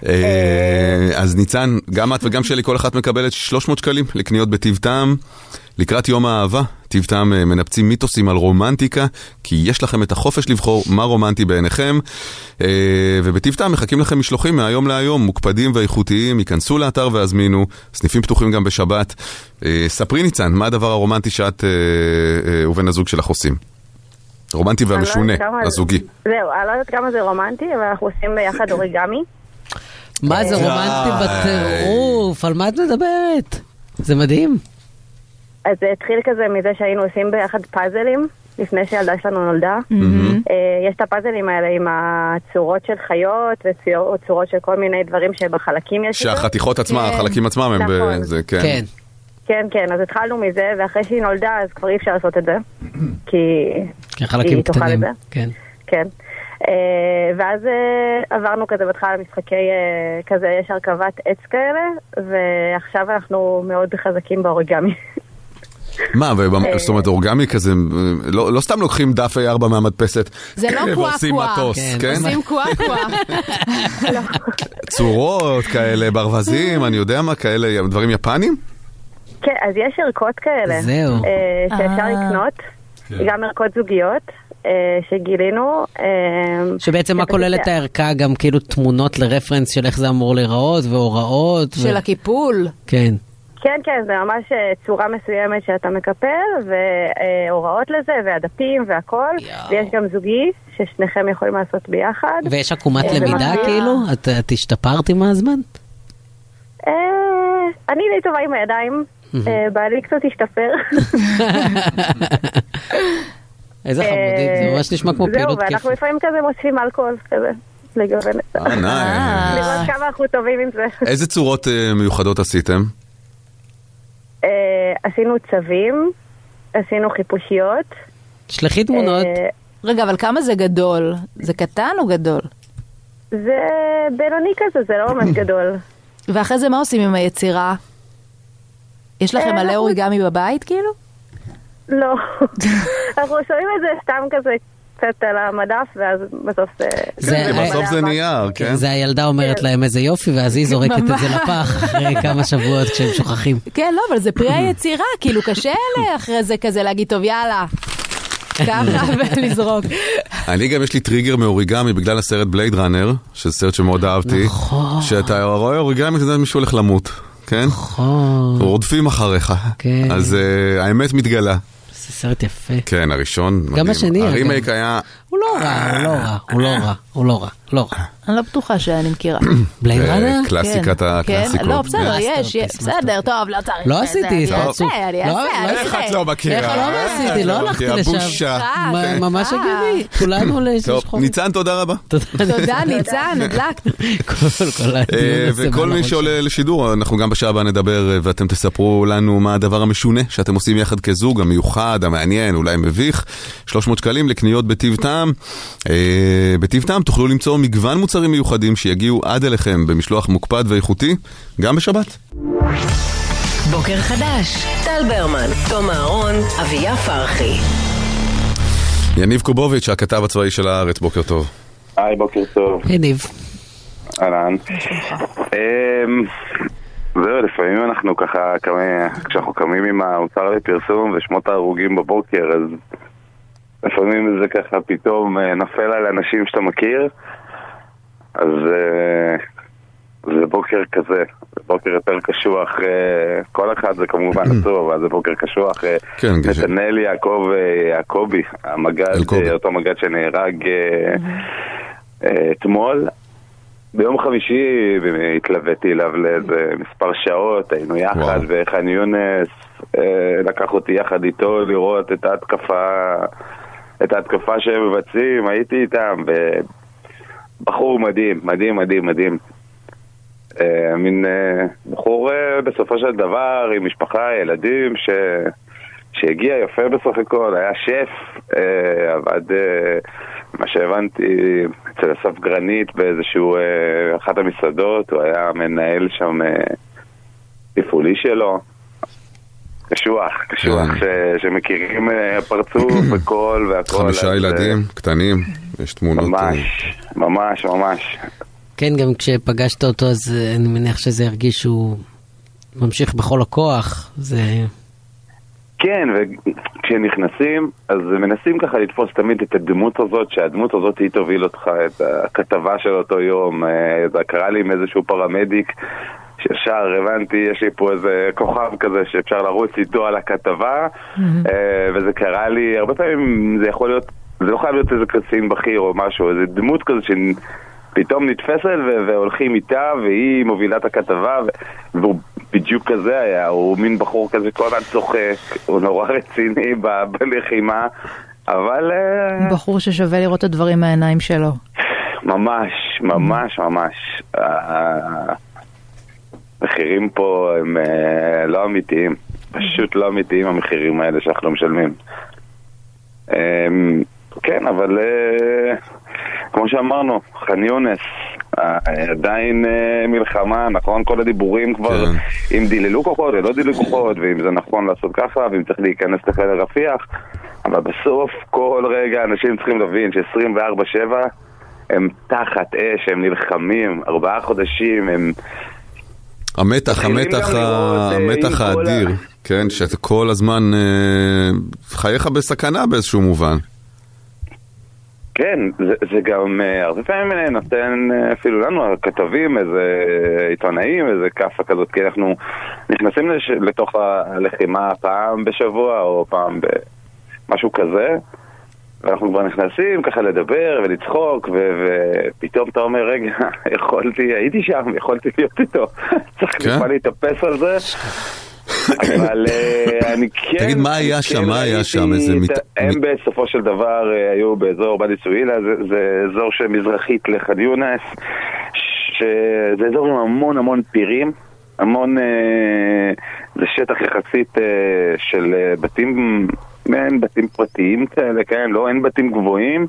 אה, אז ניצן, גם את וגם שלי, כל אחת מקבלת 300 שקלים לקניות בטיב טעם. לקראת יום האהבה, טיב טעם אה, מנפצים מיתוסים על רומנטיקה, כי יש לכם את החופש לבחור מה רומנטי בעיניכם. אה, ובטיב טעם מחכים לכם משלוחים מהיום להיום, מוקפדים ואיכותיים, ייכנסו לאתר והזמינו, סניפים פתוחים גם בשבת. אה, ספרי ניצן, מה הדבר הרומנטי שאת אה, אה, ובן הזוג שלך עושים? רומנטי אני לא והמשונה, יודעת כמה- הזוגי. זהו, אני לא יודעת כמה זה רומנטי, אבל אנחנו עושים ביחד אוריגמי. מה זה רומנטי בטירוף, על מה את מדברת? זה מדהים. אז זה התחיל כזה מזה שהיינו עושים ביחד פאזלים, לפני שהילדה שלנו נולדה. אה, יש את הפאזלים האלה עם הצורות של חיות וצורות של כל מיני דברים שבחלקים יש. איתם. שהחתיכות עצמם, כן. החלקים עצמם הם... נכון. בזה, כן. כן, כן, אז התחלנו מזה, ואחרי שהיא נולדה אז כבר אי אפשר לעשות את זה. כי כן, חלקים היא תאכל את קטנים. זה? כן. כן. אה, ואז אה, עברנו כזה בהתחלה למשחקי, אה, כזה יש הרכבת עץ כאלה, ועכשיו אנחנו מאוד חזקים באוריגמי. מה, אה. ובמ- זאת אומרת, אורגמי כזה, לא לא סתם לוקחים דף A4 מהמדפסת. זה לא קוואקווא. ועושים מטוס, כן? עושים קוואקווא. צורות כאלה, אה. ברווזים, אני יודע מה, כאלה, דברים יפנים? כן, אז יש ערכות כאלה. זהו. אה, שאפשר אה. לקנות, גם ערכות זוגיות אה, שגילינו. אה, שבעצם מה שפשוט- כוללת הערכה? גם כאילו תמונות לרפרנס של איך זה אמור להיראות והוראות. ו- של הקיפול. כן. כן, כן, זה ממש אה, צורה מסוימת שאתה מקפל, והוראות לזה, והדפים והכל. יואו. ויש גם זוגי, ששניכם יכולים לעשות ביחד. ויש עקומת אה, זה למידה מדהים. כאילו? את- את השתפרת עם הזמן? אה, אני די טובה עם הידיים, אה, בעלי קצת השתפר. איזה חמודית, זה ממש נשמע כמו אה, זהו, פעילות ואנחנו כיפית. לפעמים כזה מוסיפים אלכוהול כזה, לגוון את זה. אה, ניי. לראות כמה אנחנו טובים עם זה. איזה צורות אה, מיוחדות עשיתם? אה, עשינו צווים, עשינו חיפושיות. שלחי תמונות. אה, רגע, אבל כמה זה גדול? זה קטן או גדול? זה בינוני כזה, זה לא ממש גדול. ואחרי זה מה עושים עם היצירה? יש לכם אה, מלא אנחנו- אוריגמי בבית כאילו? לא. אנחנו שמים את זה סתם כזה קצת על המדף, ואז בסוף זה... זה- כן, כי בסוף זה נייר, כן? זה הילדה אומרת להם איזה יופי, ואז היא זורקת את זה לפח אחרי כמה שבועות כשהם שוכחים. כן, לא, אבל זה פרי היצירה, כאילו קשה ל- אחרי זה כזה להגיד, טוב, יאללה. ככה ולזרוק. אני גם יש לי טריגר מאוריגמי בגלל הסרט בלייד ראנר, שזה סרט שמאוד אהבתי. נכון. שאתה רואה אוריגמי, אתה יודע מישהו הולך למות, כן? נכון, רודפים אחריך. כן. אז אה, האמת מתגלה. זה סרט יפה. כן, הראשון. מדהים. השני, אגב. הרימייק היה... הוא לא רע, הוא לא רע, הוא לא רע, הוא לא רע, לא רע. אני לא בטוחה שאני מכירה. בלייד אה, ראנר? קלאסיקת כן, הקלאסיקות. אה, כן, לא, בסדר, כן. יש, יש, מאסטרפיס, בסדר, טוב, לא צריך. לא זה, עשיתי, אני לא אעשה, עשו. אני לא, אעשה, לא אני איך אעשה. את לא מכירה? איך לא אה, עשיתי? לא הלכתי מכירה, לשם. בושה. אה, מה- כן. ממש אה. הגיוני, כולנו טוב, לשחור. ניצן, תודה רבה. תודה, ניצן, הדלקת. כל- כל הדיון אה, הזה וכל בראש. מי שעולה לשידור, אנחנו גם בשעה הבאה נדבר, אה, ואתם תספרו לנו מה הדבר המשונה שאתם עושים יחד כזוג, המיוחד, המעניין, אולי מביך. 300 שקלים לקניות בטיב טעם. אה, בטיב טעם תוכלו למצוא מגוון מוצרים מיוחדים שיגיעו עד אליכם במשלוח מוקפד ואיכותי, גם בשבת. בוקר חדש, טל ברמן, תום אהרון, אביה פרחי. יניב קובוביץ', הכתב הצבאי של הארץ, בוקר טוב. היי, בוקר טוב, יניב, אהלן. אמ, זהו, לפעמים אנחנו ככה, קמים- כשאנחנו קמים עם האוצר לפרסום ושמות ההרוגים בבוקר, אז לפעמים זה ככה פתאום אה, נופל על אנשים שאתה מכיר, אז אה, זה בוקר כזה, זה בוקר יותר קשוח, אה, כל אחד זה כמובן Mm. עצוב, אבל זה בוקר קשוח. אה, כן, גשם. נתנאל יעקב אה, יעקבי, המג"ד, אלקובי. אה, אותו מג"ד שנהרג אה, אה, אתמול. ביום חמישי אה, התלוויתי אליו לאיזה מספר שעות, היינו יחד, וואו. וחאן יונס אה, לקח אותי יחד איתו לראות את ההתקפה, את ההתקפה שהם מבצעים, הייתי איתם, ובחור מדהים, מדהים, מדהים, מדהים. אה, מין אה, בחור אה, בסופו של דבר עם משפחה, ילדים, ש... שהגיע יפה בסך הכל, היה שף, אה, עבד, אה, מה שהבנתי, אצל אסף גרנית באיזשהו, אה, אחת המסעדות, הוא היה מנהל שם אה, תפעולי שלו. קשוח, קשוח, כן. ש- שמכירים אה, פרצוף וקול והכל. חמישה אז, אה, ילדים, קטנים, יש תמונות. אה, ממש, ממש, ממש. כן, גם כשפגשת אותו, אז אה, אני מניח שזה הרגיש שהוא ממשיך בכל הכוח. זה... כן, וכשנכנסים, אז מנסים ככה לתפוס תמיד את הדמות הזאת, שהדמות הזאת היא תוביל אותך, את הכתבה של אותו יום. אה, זה קרה לי עם איזשהו פרמדיק, שישר הבנתי, יש לי פה איזה כוכב כזה שאפשר לרוץ איתו על הכתבה, אה, וזה קרה לי, הרבה פעמים זה יכול להיות, זה לא חייב להיות איזה קצין בכיר או משהו, איזה דמות כזה שפתאום נתפסת ו- והולכים איתה, והיא מובילה את הכתבה, ו- והוא... בדיוק כזה היה, הוא מין בחור כזה כל הזמן צוחק, הוא נורא רציני ב- בלחימה, אבל אה, בחור ששווה לראות את הדברים מהעיניים שלו. ממש, ממש, ממש. ה- המחירים פה הם אה, לא אמיתיים, פשוט לא אמיתיים המחירים האלה שאנחנו משלמים. אמ, כן, אבל אה, כמו שאמרנו, חאן יונס, אה, עדיין אה, מלחמה, נכון? כל הדיבורים כבר, אם דיללו כוחות ולא דיללו כוחות, ואם זה נכון לעשות ככה, ואם צריך להיכנס לחדר רפיח, אבל בסוף כל רגע אנשים צריכים להבין ש-24-7 הם תחת אש, הם נלחמים, ארבעה חודשים, הם... המתח, מתחילים המתח, גם ה- לראות, אה, עם המתח כל ה- האדיר, כן, שאתה כל הזמן, אה, חייך בסכנה באיזשהו מובן. כן, זה, זה גם אה, הרבה פעמים אה, נותן אה, אפילו לנו, הכתבים, איזה אה, עיתונאים, איזה כאפה כזאת, כי אנחנו נכנסים לש, לתוך הלחימה פעם בשבוע או פעם במשהו כזה, ואנחנו כבר נכנסים ככה לדבר ולצחוק, ו, ופתאום אתה אומר, רגע, יכולתי, הייתי שם, יכולתי להיות איתו, צריך כן. טיפה להתאפס על זה. אבל אה, אני כן... תגיד, מה היה שם? כן מה היה ראיתי שם? איזה את מת- ה- הם בסופו של דבר אה, היו באזור ואדי סואילה, זה- זה אזור שמזרחית לחאן יונס, שזה אזור עם המון המון פירים, המון... אה, זה שטח יחסית אה, של אה, בתים, אין בתים פרטיים כאלה, כן? לא, אין בתים גבוהים.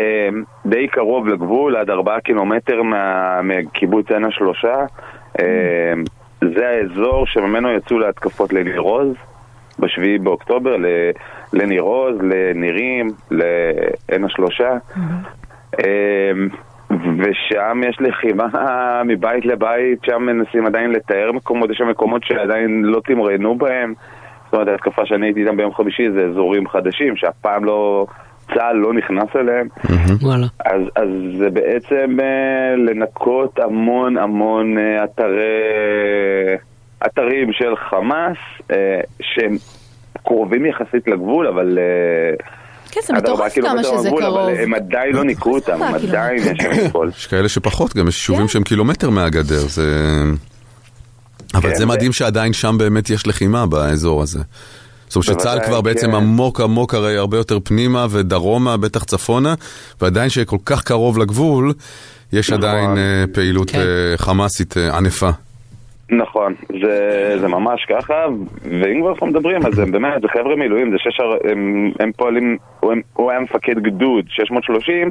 אה, די קרוב לגבול, עד ארבעה קילומטר מה- מקיבוץ עין השלושה. אה, זה האזור שממנו יצאו להתקפות לניר עוז בשביעי באוקטובר, ל- לניר עוז, לנירים, לעין השלושה. אמ, ושם יש לחימה מבית לבית, שם מנסים עדיין לתאר מקומות, יש שם מקומות שעדיין לא תמרנו בהם. זאת אומרת, ההתקפה שאני הייתי איתם ביום חמישי זה אזורים חדשים, שאף פעם לא, צה"ל לא נכנס אליהם. Mhm. וואלה. אז, אז זה בעצם אה, לנקות המון המון אה, אתרי, אתרים של חמאס, אה, שהם קרובים יחסית לגבול, אבל... אה, כן, זה עד ארבעה מטורף קילומטר כמה שזה מהגבול, קרוב. אבל הם עדיין לא ניקו אותם, הם ארבעה עדיין יש שם הכל. יש כאלה שפחות, גם יש יישובים שהם קילומטר מהגדר, זה... אבל כן, זה ו- מדהים שעדיין שם באמת יש לחימה באזור הזה. זאת אומרת שצה"ל בוודאי, כבר בעצם כן. עמוק עמוק הרי הרבה יותר פנימה ודרומה, בטח צפונה, ועדיין שכל כך קרוב לגבול, יש עדיין אה, פעילות כן. אה, חמאסית אה, ענפה. נכון, זה, זה ממש ככה, ואם כבר אנחנו מדברים, אז הם באמת, זה חבר'ה מילואים, זה שש... הר- הם, הם פועלים, הוא, הם, הוא היה מפקד גדוד 630,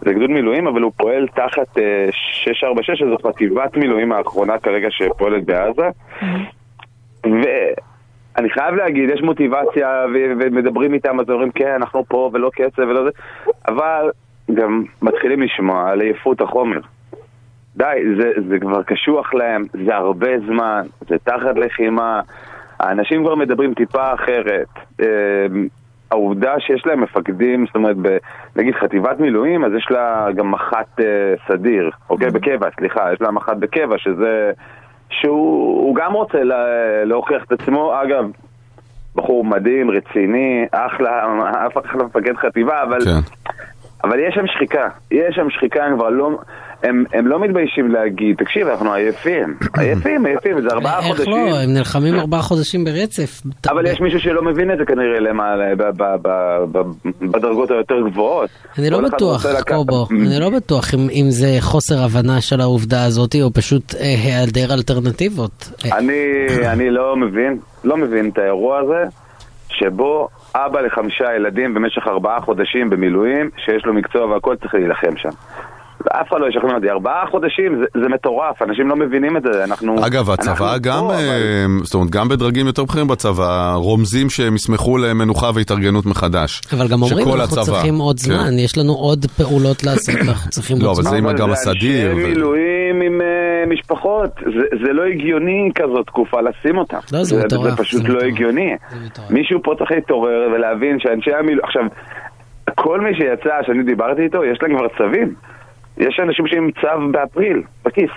זה גדוד מילואים, אבל הוא פועל תחת אה, 646, שזו חטיבת מילואים האחרונה כרגע שפועלת בעזה. ואני חייב להגיד, יש מוטיבציה, ו- ומדברים איתם, אז אומרים, כן, אנחנו פה, ולא קצב, ולא זה, אבל גם מתחילים לשמוע על עייפות החומר. די, זה, זה כבר קשוח להם, זה הרבה זמן, זה תחת לחימה, האנשים כבר מדברים טיפה אחרת. אה, העובדה שיש להם מפקדים, זאת אומרת, ב, נגיד חטיבת מילואים, אז יש לה גם מח"ט אה, סדיר, אוקיי? בקבע, סליחה, יש לה מח"ט בקבע, שזה... שהוא הוא גם רוצה לה, להוכיח את עצמו, אגב, בחור מדהים, רציני, אחלה, אף אחד לא מפקד חטיבה, אבל... כן. אבל יש שם שחיקה, יש שם שחיקה, הם כבר לא, הם, הם לא מתביישים להגיד, תקשיב, אנחנו עייפים, עייפים, עייפים, זה ארבעה איך חודשים. לא? הם נלחמים ארבעה חודשים ברצף. אבל יש מישהו שלא מבין את זה כנראה למעלה, ב- ב- ב- ב- בדרגות היותר גבוהות. אני לא כל אחד בטוח, רוצה לקחת- קובו, אני לא בטוח אם, אם זה חוסר הבנה של העובדה הזאת, או פשוט אה, היעדר אלטרנטיבות. אה, אני, אני לא מבין, לא מבין את האירוע הזה, שבו אבא לחמישה ילדים במשך ארבעה חודשים במילואים, שיש לו מקצוע והכל, צריך להילחם שם. ואף אחד לא ישכנע אותי, ארבעה חודשים זה, זה מטורף, אנשים לא מבינים את זה, אנחנו... אגב, הצבא אנחנו גם, פה, אבל... אה, זאת אומרת, גם בדרגים יותר בכירים בצבא, רומזים שהם יסמכו למנוחה והתארגנות מחדש. אבל גם אומרים, שכל אנחנו הצבא, צריכים עוד כן. זמן, יש לנו עוד פעולות לעשות, אנחנו צריכים לא, עוד אבל זמן. זה עם אג"ם הסדיר ו- אנשי מילואים עם אה, משפחות, זה, זה לא הגיוני כזאת תקופה לשים אותם. לא, זה מטורף, זה פשוט זה לא מטורף. הגיוני. זה מטורף. מישהו פה צריך להתעורר ולהבין שאנשי המילואים... עכשיו, כל מי שיצא, שאני דיברתי איתו, יש להם כבר צווים. יש אנשים שעם צו באפריל, בכיס,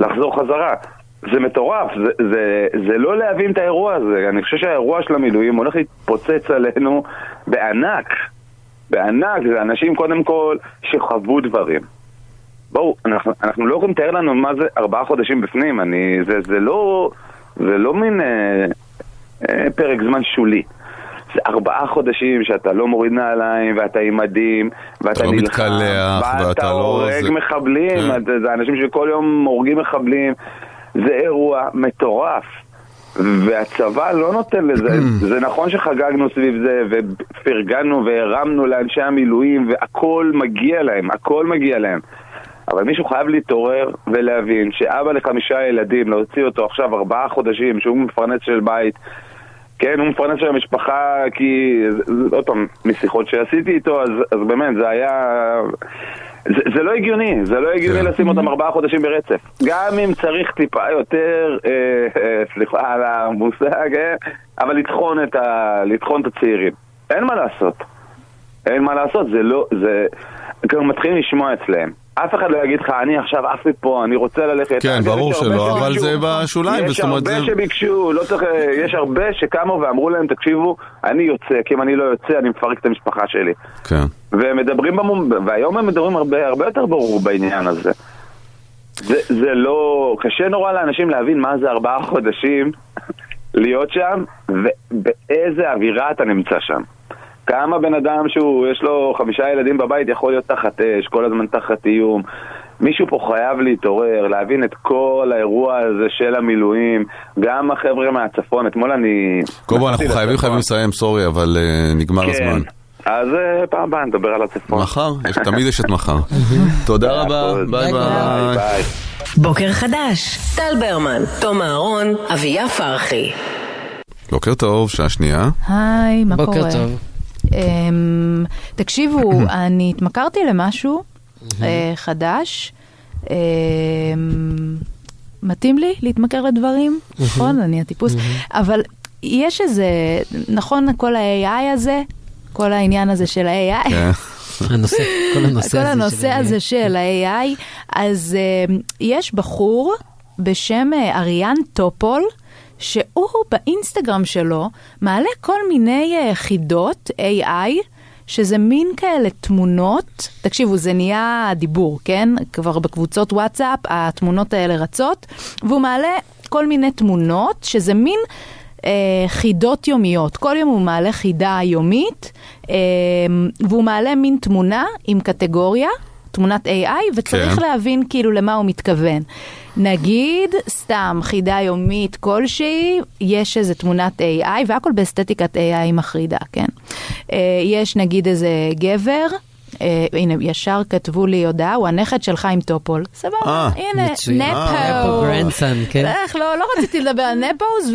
לחזור חזרה. זה מטורף, זה, זה, זה לא להבין את האירוע הזה. אני חושב שהאירוע של המילואים הולך להתפוצץ עלינו בענק. בענק, זה אנשים קודם כל שחוו דברים. בואו, אנחנו, אנחנו לא יכולים לתאר לנו מה זה ארבעה חודשים בפנים, אני, זה, זה, לא, זה לא מין אה, אה, פרק זמן שולי. זה ארבעה חודשים שאתה לא מוריד נעליים, ואתה עם מדים, ואתה אתה לא נלחם, מתקלח, ואתה לא- הורג זה- מחבלים, כן. אתה- זה אנשים שכל יום הורגים מחבלים, זה אירוע מטורף. והצבא לא נותן לזה, זה נכון שחגגנו סביב זה ופרגנו והרמנו לאנשי המילואים והכל מגיע להם, הכל מגיע להם. אבל מישהו חייב להתעורר ולהבין שאבא לחמישה ילדים, להוציא אותו עכשיו ארבעה חודשים, שהוא מפרנס של בית, כן, הוא מפרנס של המשפחה, כי, זה- זה- עוד פעם, משיחות שעשיתי איתו, אז, אז באמת, זה היה... זה, זה לא הגיוני, זה לא הגיוני כן. לשים אותם ארבעה חודשים ברצף. גם אם צריך טיפה יותר, אה, אה, סליחה על המושג, אה, אבל לטחון את, ה, לטחון את הצעירים. אין מה לעשות. אין מה לעשות, זה לא, זה... כבר מתחילים לשמוע אצלהם. אף אחד לא יגיד לך, אני עכשיו עף לי פה, אני רוצה ללכת. כן, אגב, ברור יש הרבה שלא, אבל שביקשו. זה בשוליים, יש זאת אומרת, הרבה זה- שביקשו, לא צריך, יש הרבה שקמו ואמרו להם, תקשיבו, אני יוצא, כי אם אני לא יוצא, אני מפרק את המשפחה שלי. כן. והם מדברים, במום- והיום הם מדברים הרבה, הרבה יותר ברור בעניין הזה. זה, זה לא... קשה נורא לאנשים להבין מה זה ארבעה חודשים להיות שם, ובאיזה אווירה אתה נמצא שם. כמה בן אדם שהוא, יש לו חמישה ילדים בבית, יכול להיות תחת אש, כל הזמן תחת איום. מישהו פה חייב להתעורר, להבין את כל האירוע הזה של המילואים, גם החבר'ה מהצפון, אתמול אני... קודם כל אנחנו נסעתי חייבים לצפון. חייבים לסיים, סורי, אבל אה, נגמר הזמן. כן, אז אה, פעם הבאה נדבר על הצפון. מחר? יש- תמיד יש את מחר. תודה רבה, ביי ביי. ביי. בוקר חדש, טל ברמן, תום אהרון, אביה פרחי. בוקר טוב, שעה שנייה. היי, מה קורה? בוקר טוב. אמ, תקשיבו, אני התמכרתי למשהו אה, חדש. אמ, מתאים לי להתמכר לדברים, נכון? אני הטיפוס. אבל יש איזה, נכון, כל ה-AI הזה, כל העניין הזה של ה-AI, כן. הנושא, כל הנושא כל הזה. של הנושא ה- הזה של ה-AI, אז אמ, יש בחור בשם אה, אריאן טופול, שהוא באינסטגרם שלו מעלה כל מיני אה, חידות AI, שזה מין כאלה תמונות, תקשיבו, זה נהיה דיבור, כן? כבר בקבוצות וואטסאפ התמונות האלה רצות, והוא מעלה כל מיני תמונות, שזה מין... אה, חידות יומיות. כל יום הוא מעלה חידה יומית, אה, והוא מעלה מין תמונה עם קטגוריה, תמונת AI, וצריך כן. להבין כאילו למה הוא מתכוון. נגיד, סתם חידה יומית כלשהי, יש איזה תמונת AI, והכל באסתטיקת AI מחרידה, כן? אה, יש נגיד איזה גבר. אה, הנה, ישר כתבו לי הודעה, הוא הנכד של חיים טופול. סבבה, אה, הנה, מצוין. אה, נפו. נפו גרנדסון, כן. איך, לא, לא רציתי לדבר על נפוז,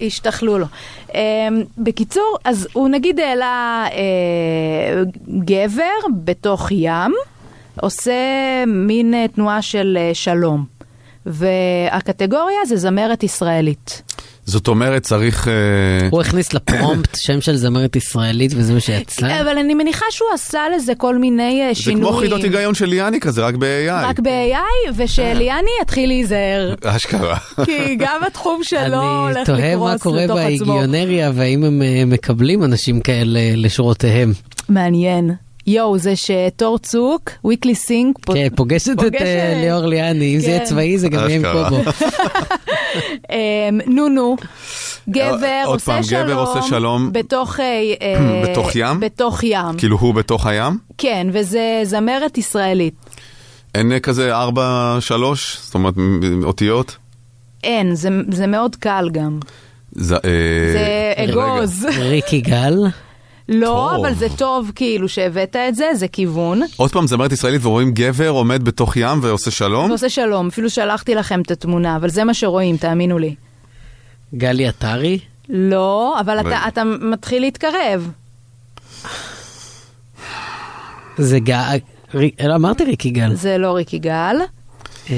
והשתחלו לו. Um, בקיצור, אז הוא נגיד העלה uh, גבר בתוך ים, עושה מין uh, תנועה של uh, שלום. והקטגוריה זה זמרת ישראלית. זאת אומרת, צריך... אה, הוא הכניס לפרומפט שם של זמרת ישראלית וזה מה שיצא. אבל אני מניחה שהוא עשה לזה כל מיני uh, זה שינויים. כמו חידות היגיון של ליאני כזה, רק רק ב-AI. ב-AI, ושליאני אה. יתחיל להיזהר. אשכרה. כי גם התחום שלו אני הולך תוהה מה לקרוס קורה לתוך עצמו. בהיגיונריה והאם הם אה, מקבלים אנשים כאלה לשורותיהם. מעניין. יואו, זה שתור צוק, weekly sync, פה, כן, פוגשת את פוגשת. אה, ליאור ליאני, אם זה כן. יהיה צבאי זה גם יהיה עם אשכרה. קובו. אה, נו נו, גבר עוד עושה פעם, שלום, גבר עושה שלום. בתוך, אה, אה, בתוך ים? בתוך ים, כאילו הוא בתוך הים? כן, וזה זמרת ישראלית. אין אה, כזה ארבע, שלוש? זאת אומרת, מ- אותיות? אין, זה, זה מאוד קל גם. זה... אה, זה רגע. אגוז. ריקי גל, לא, טוב. אבל זה טוב כאילו שהבאת את זה, זה כיוון. עוד פעם, זמרת ישראלית ורואים גבר עומד בתוך ים ועושה שלום? עושה שלום, אפילו שלחתי לכם את התמונה, אבל זה מה שרואים, תאמינו לי. גלי עטרי, לא, אבל אתה, רגע. אתה מתחיל להתקרב. זה גל, לא אמרתי ריקי גל. זה לא ריקי גל. אה,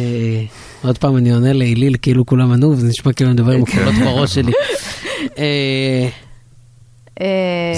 עוד פעם אני עונה להיליל כאילו כולם ענו וזה נשמע כאילו אני מדבר עם כן. הקולות בראש שלי. אה, אה,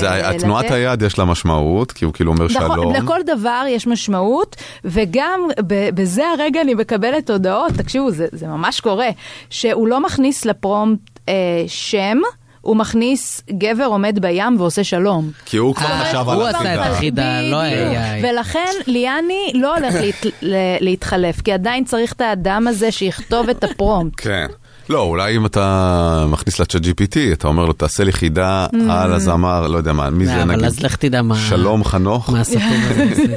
זה, לתת- תנועת היד יש לה משמעות, כי הוא כאילו אומר נכון, שלום. לכל דבר יש משמעות, וגם ב- בזה הרגע אני מקבלת הודעות, תקשיבו, זה, זה ממש קורה, שהוא לא מכניס לפרומפט אה, שם, הוא מכניס גבר עומד בים ועושה שלום. כי הוא כבר אה, חשב על הוא עשה את החידה. החידה, לא בדיוק. ה-AI. ולכן ליאני לא הולך להת, ל- להתחלף, כי עדיין צריך את האדם הזה שיכתוב את הפרומפט. כן. לא, אולי אם אתה מכניס לצ'אט GPT, אתה אומר לו, תעשה לי חידה Mm. על הזמר, לא יודע מה, מי זה אבל נגיד? אז לך תדע מה... שלום חנוך? מה הסתום הזה. זה.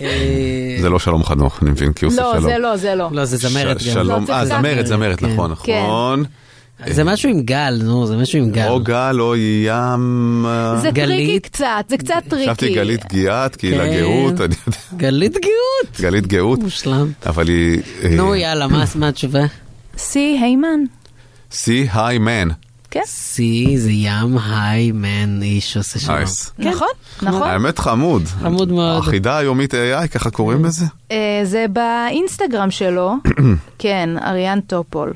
אה, זה לא שלום חנוך, אני מבין, כי הוא עושה לא, שלום. זה לא, זה לא. לא, זה זמרת ש- גם. שלום, לא, אה, צריך זמרת, להגיד. זמרת, כן. נכון, כן. נכון. זה משהו עם גל, נו, זה משהו עם גל. או גל או ים... אה, זה טריקי גלית. קצת, זה קצת טריקי. חשבתי גלית גיאת, כי היא כן. לגאות, אני יודע, גלית גאות! גלית גאות, מושלם. אבל היא... אה, נו, יאללה, מה מה התשובה? סי היימן. סי היי מן. כן, סי זה ים היי מן איש עושה שלום. נייס. כן. נכון, נכון. האמת חמוד. חמוד מאוד. החידה היומית AI, ככה קוראים לזה? אה, זה באינסטגרם שלו, כן, אריאן טופול.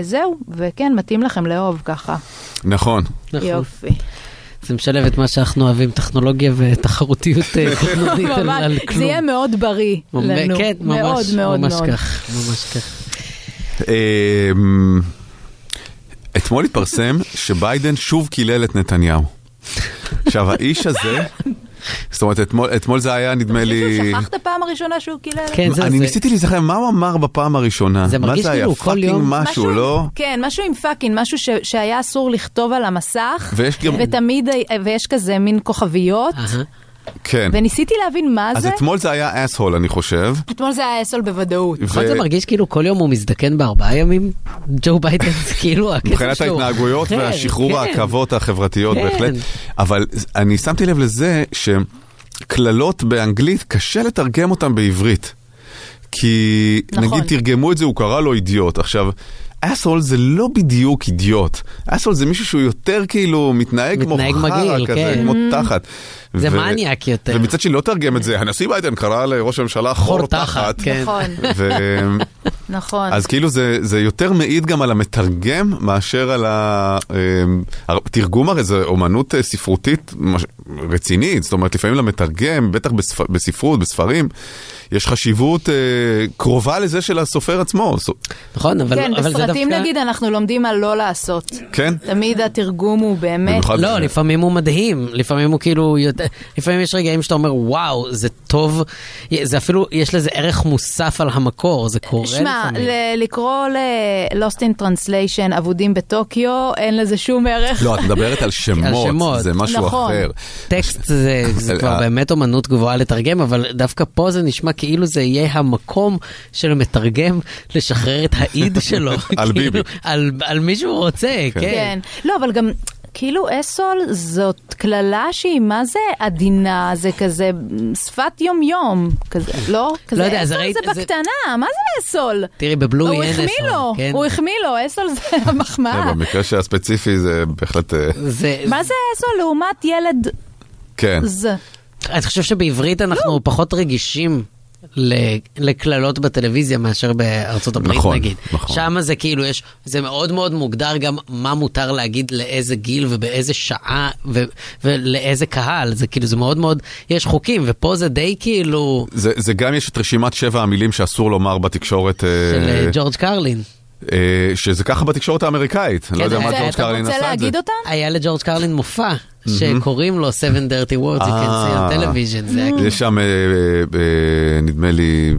וזהו, וכן, מתאים לכם לאהוב ככה. נכון. נכון. יופי. זה משלב את מה שאנחנו אוהבים, טכנולוגיה ותחרותיות אה, קטנונית על ממש, על כלום. זה יהיה מאוד בריא לנו. כן, ממש, מאוד מאוד ממש מאוד. כך, ממש כך. אה, אתמול התפרסם שביידן שוב קילל את נתניהו. עכשיו, האיש הזה, זאת אומרת, אתמול- אתמול זה היה, נדמה לי... מישהו שכח את הפעם הראשונה שהוא קילל? כן, זה אני זה. ניסיתי להיזכר מה הוא אמר בפעם הראשונה. זה מרגיש מה זה היה? כאילו כל פאקינג יום- משהו, לא? כן, משהו עם פאקינג, משהו ש, שהיה אסור לכתוב על המסך, ויש גם- ותמיד, ה- ויש כזה מין כוכביות, אהה. כן. וניסיתי להבין מה אז זה. אתמול זה היה אסהול, אני חושב. אתמול זה היה אסול בוודאות. נכון זה ו- מרגיש כאילו כל יום הוא מזדקן בארבעה ימים? ג'ו ביידן זה כאילו הקטע שלו. מבחינת ההתנהגויות כן, והשחרור כן. העכבות החברתיות כן. בהחלט. אבל אני שמתי לב לזה שקללות באנגלית, קשה לתרגם אותן בעברית. כי נכון. נגיד תרגמו את זה, הוא קרא לו אידיוט. עכשיו, אסול זה לא בדיוק אידיוט. אסול זה מישהו שהוא יותר כאילו מתנהג כמו מתנהג חרא מגעיל, כזה, כן. כמו תחת. זה ו- מניאק יותר. ומצד שני לא תרגם את זה, הנשיא ביידן קרא לראש הממשלה חור תחת. כן. נכון, ו- נכון. אז כאילו זה, זה יותר מעיד גם על המתרגם מאשר על ה... אמ, הר- תרגום הרי זה אומנות אה, ספרותית מש- רצינית, זאת אומרת לפעמים למתרגם, בטח בספ... בספרות, בספרים, יש חשיבות אה, קרובה לזה של הסופר עצמו, ס... נכון, אבל כן, אבל זה דווקא... בסרטים נגיד אנחנו לומדים מה לא לעשות. כן? תמיד התרגום הוא באמת... במיוחד- לא, לפעמים הוא מדהים, לפעמים הוא כאילו, יודע- לפעמים יש רגעים שאתה אומר, וואו, זה טוב, זה אפילו, יש לזה ערך מוסף על המקור, זה קורה שמע, לפעמים. ל- לקרוא ל-Lost in Translation אבודים בטוקיו, אין לזה שום ערך. לא, את מדברת על שמות, על שמות. זה משהו נכון. אחר. טקסט זה, זה כבר באמת אומנות גבוהה לתרגם, אבל דווקא פה זה נשמע כאילו זה יהיה המקום של המתרגם לשחרר את האיד שלו. על כאילו, ביבי. על, על מי שהוא רוצה, כן. כן. לא, אבל גם, כאילו אסול זאת קללה שהיא, מה זה עדינה? זה כזה שפת יום-יום, כזה, לא? כזה יודע, זה אסול ראית- זה זה- בקטנה, מה זה אסול? תראי, בבלוי הוא אין החמיא אסול, לו, כן. הוא החמיא לו, אסול זה כן, המחמאה. במקרה שהספציפי זה בהחלט... אה, זה, מה זה אסול לעומת ילד כן. ז? אני חושב שבעברית לא. אנחנו פחות רגישים. ל- לקללות בטלוויזיה מאשר בארצות הברית נכון, נגיד. נכון. שם זה כאילו יש, זה מאוד מאוד מוגדר גם מה מותר להגיד לאיזה גיל ובאיזה שעה ו, ולאיזה קהל, זה כאילו זה מאוד מאוד, יש חוקים ופה זה די כאילו זה, זה גם יש את רשימת שבע המילים שאסור לומר בתקשורת, אה, של אה, ג'ורג' קרלין. כן, אה, שזה ככה בתקשורת האמריקאית, אני לא יודע אתה מה זה, ג'ורג' אתה קרלין עשה את זה. רוצה להגיד אותם? היה לג'ורג' קרלין מופע שקוראים לו 7 dirty words, you can see on אה. television, כן זה היה כאילו- יש שם, אה, אה, אה, נדמה לי,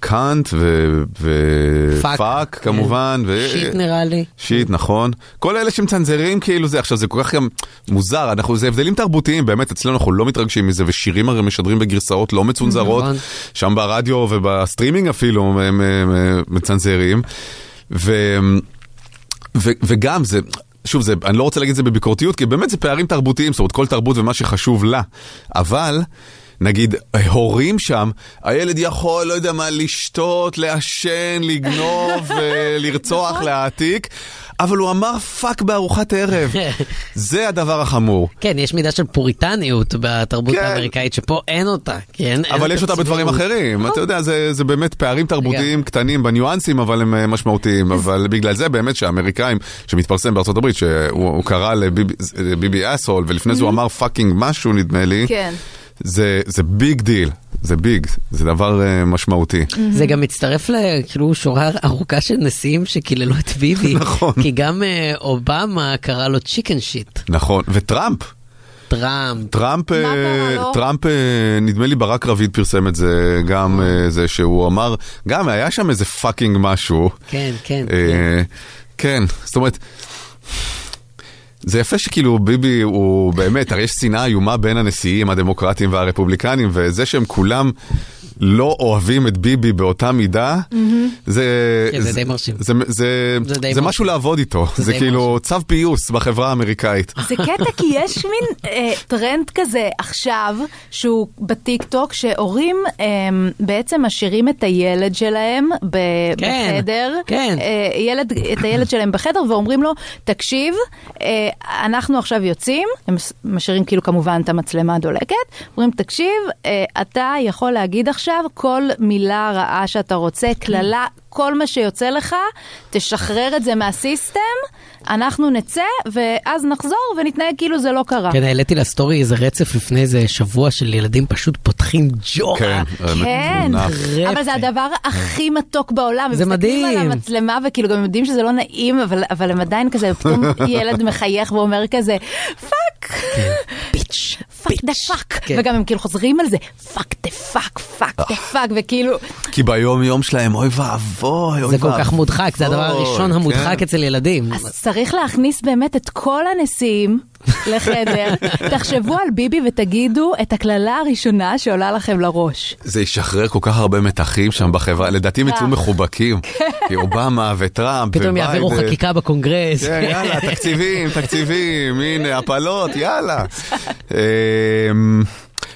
קאנט פאק. ופאק כמובן. ו- שיט נראה לי. שיט, נכון. כל אלה שמצנזרים כאילו זה, עכשיו זה כל כך גם מוזר, אנחנו, זה הבדלים תרבותיים, באמת, אצלנו אנחנו לא מתרגשים מזה, ושירים הרי משדרים בגרסאות לא מצונזרות, נכון. שם ברדיו ובסטרימינג אפילו הם, הם, הם מצנזרים. ו, ו, וגם זה... שוב, זה, אני לא רוצה להגיד את זה בביקורתיות, כי באמת זה פערים תרבותיים, זאת אומרת, כל תרבות ומה שחשוב לה. אבל, נגיד, הורים שם, הילד יכול, לא יודע מה, לשתות, לעשן, לגנוב, אה, לרצוח, להעתיק, אבל הוא אמר פאק בארוחת ערב. זה הדבר החמור. כן, יש מידה של פוריטניות בתרבות כן. האמריקאית שפה אין אותה. כן, אין אבל יש אותה צביעות. בדברים אחרים, נכון. אתה יודע, זה, זה באמת פערים תרבותיים קטנים בניואנסים, אבל הם אה, משמעותיים, אבל בגלל זה באמת שהאמריקאים, שמתפרסם בארצות הברית, שהוא הוא קרא לביבי- לביבי אסהול, ולפני זה הוא אמר פאקינג משהו נדמה לי, Mm-hmm. כן. זה זה ביג דיל, זה ביג, זה דבר אה, משמעותי. זה גם מצטרף לכאילו שורה ארוכה של נשיאים שקיללו את ביבי. נכון. כי גם אה, אובמה קרא לו צ'יקן שיט. נכון, וטראמפ, טראמפ. טראמפ, אה, קרה לו? טראמפ, אה, נדמה לי ברק רביד פרסם את זה, גם אה, זה שהוא אמר, גם היה שם איזה פאקינג משהו. כן, כן. אה, כן, זאת אומרת, זה יפה שכאילו ביבי הוא באמת, הרי יש שנאה איומה בין הנשיאים הדמוקרטים והרפובליקנים, וזה שהם כולם לא אוהבים את ביבי באותה מידה, זה... כן, זה די מרשים. זה, זה, זה זה, די זה מרשים. משהו לעבוד איתו, זה זה, די כאילו צו פיוס בחברה האמריקאית. זה קטע כי יש מין אה, טרנד כזה עכשיו, שהוא בטיקטוק, שהורים אה, בעצם משאירים את הילד שלהם ב- כן, בחדר, כן. אה, ילד, את הילד שלהם בחדר, ואומרים לו, תקשיב, אה, אנחנו עכשיו יוצאים, הם מש- משאירים כאילו כמובן את המצלמה הדולקת, אומרים, תקשיב, אה, אתה יכול להגיד עכשיו כל מילה רעה שאתה רוצה, קללה, כל מה שיוצא לך, תשחרר את זה מהסיסטם, אנחנו נצא, ואז נחזור ונתנהג כאילו זה לא קרה. כן, העליתי לסטורי איזה רצף לפני איזה שבוע של ילדים פשוט פותחים ג'ורה. כן, כן, מטונף. אבל זה הדבר הכי מתוק בעולם. זה הם מסתכלים מדהים. על המצלמה וכאילו גם יודעים שזה לא נעים, אבל, אבל הם עדיין כזה, פתאום ילד מחייך ואומר כזה, פאק, פיץ', פאק דה פאק, כן. וגם הם כאילו חוזרים על זה, פאק דה פאק, פאק דה אה. פאק, וכאילו, כי ביום יום שלהם, אוי ואבוי, אוי ואבוי. זה כל כך מודחק, זה הדבר הראשון כן. המודחק אצל ילדים. אז צריך להכניס באמת את כל הנשיאים לחדר, תחשבו על ביבי ותגידו את הקללה הראשונה שעולה לכם לראש. זה ישחרר כל כך הרבה מתחים שם בחברה, לדעתי הם יצאו מחובקים. כי אובמה וטראמפ אה. פתאום וביידן. יעבירו חקיקה בקונגרס. כן, יאללה, תקציבים, תקציבים, הנה, הפלות, יאללה. אמ,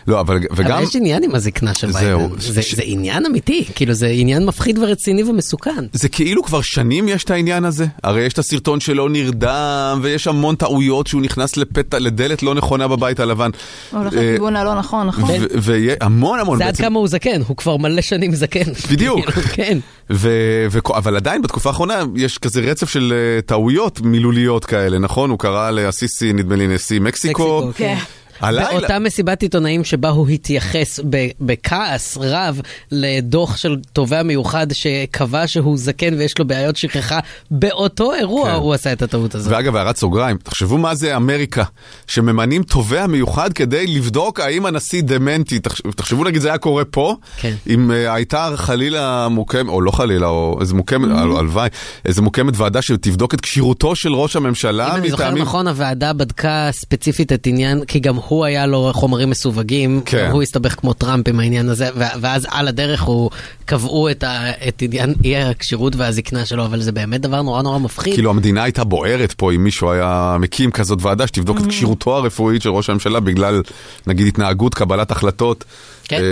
לא, אבל אבל וגם... יש עניין עם הזקנה של זהו. ביידן, זה- ש- זה עניין אמיתי, כאילו זה עניין מפחיד ורציני ומסוכן. זה כאילו כבר שנים יש את העניין הזה. הרי יש את הסרטון שלו נרדם, ויש המון טעויות שהוא נכנס לפתע, לדלת לא נכונה בבית הלבן. הולך אה, לכיוון הלא נכון, נכון? והמון המון זה עד בעצם. כמה הוא זקן, הוא כבר מלא שנים זקן. בדיוק. כאילו, כן. ו- ו- אבל עדיין בתקופה האחרונה יש כזה רצף של אה, טעויות מילוליות כאלה, נכון? הוא קרא לאסיסי, נדמה לי, נשיא מקסיקו. מקסיקו, כן. הלילה. באותה מסיבת עיתונאים שבה הוא התייחס ב- בכעס רב לדוח של תובע מיוחד שקבע שהוא זקן ויש לו בעיות שכחה, באותו אירוע כן. הוא עשה את הטעות הזאת. ואגב, הערת סוגריים, תחשבו מה זה אמריקה, שממנים תובע מיוחד כדי לבדוק האם הנשיא דמנטי. תחש- תחשבו נגיד זה היה קורה פה, כן. אם אה, הייתה חלילה מוקמת, או לא חלילה, או איזה מוקמת, Mm-hmm. הל- הלוואי, איזה מוקמת ועדה שתבדוק את כשירותו של ראש הממשלה אם אני זוכר אה, מטעמים- נכון, הוועדה בדקה ספציפית את עניין, כי גם הוא היה לו חומרים מסווגים, כן. גם הוא הסתבך כמו טראמפ עם העניין הזה, ו- ואז על הדרך הוא קבעו את, ה- את עניין אי הכשירות והזקנה שלו, אבל זה באמת דבר נורא נורא מפחיד. כאילו המדינה הייתה בוערת פה אם מישהו היה מקים כזאת ועדה שתבדוק Mm. את כשירותו הרפואית של ראש הממשלה בגלל נגיד התנהגות, קבלת החלטות, כן. אה,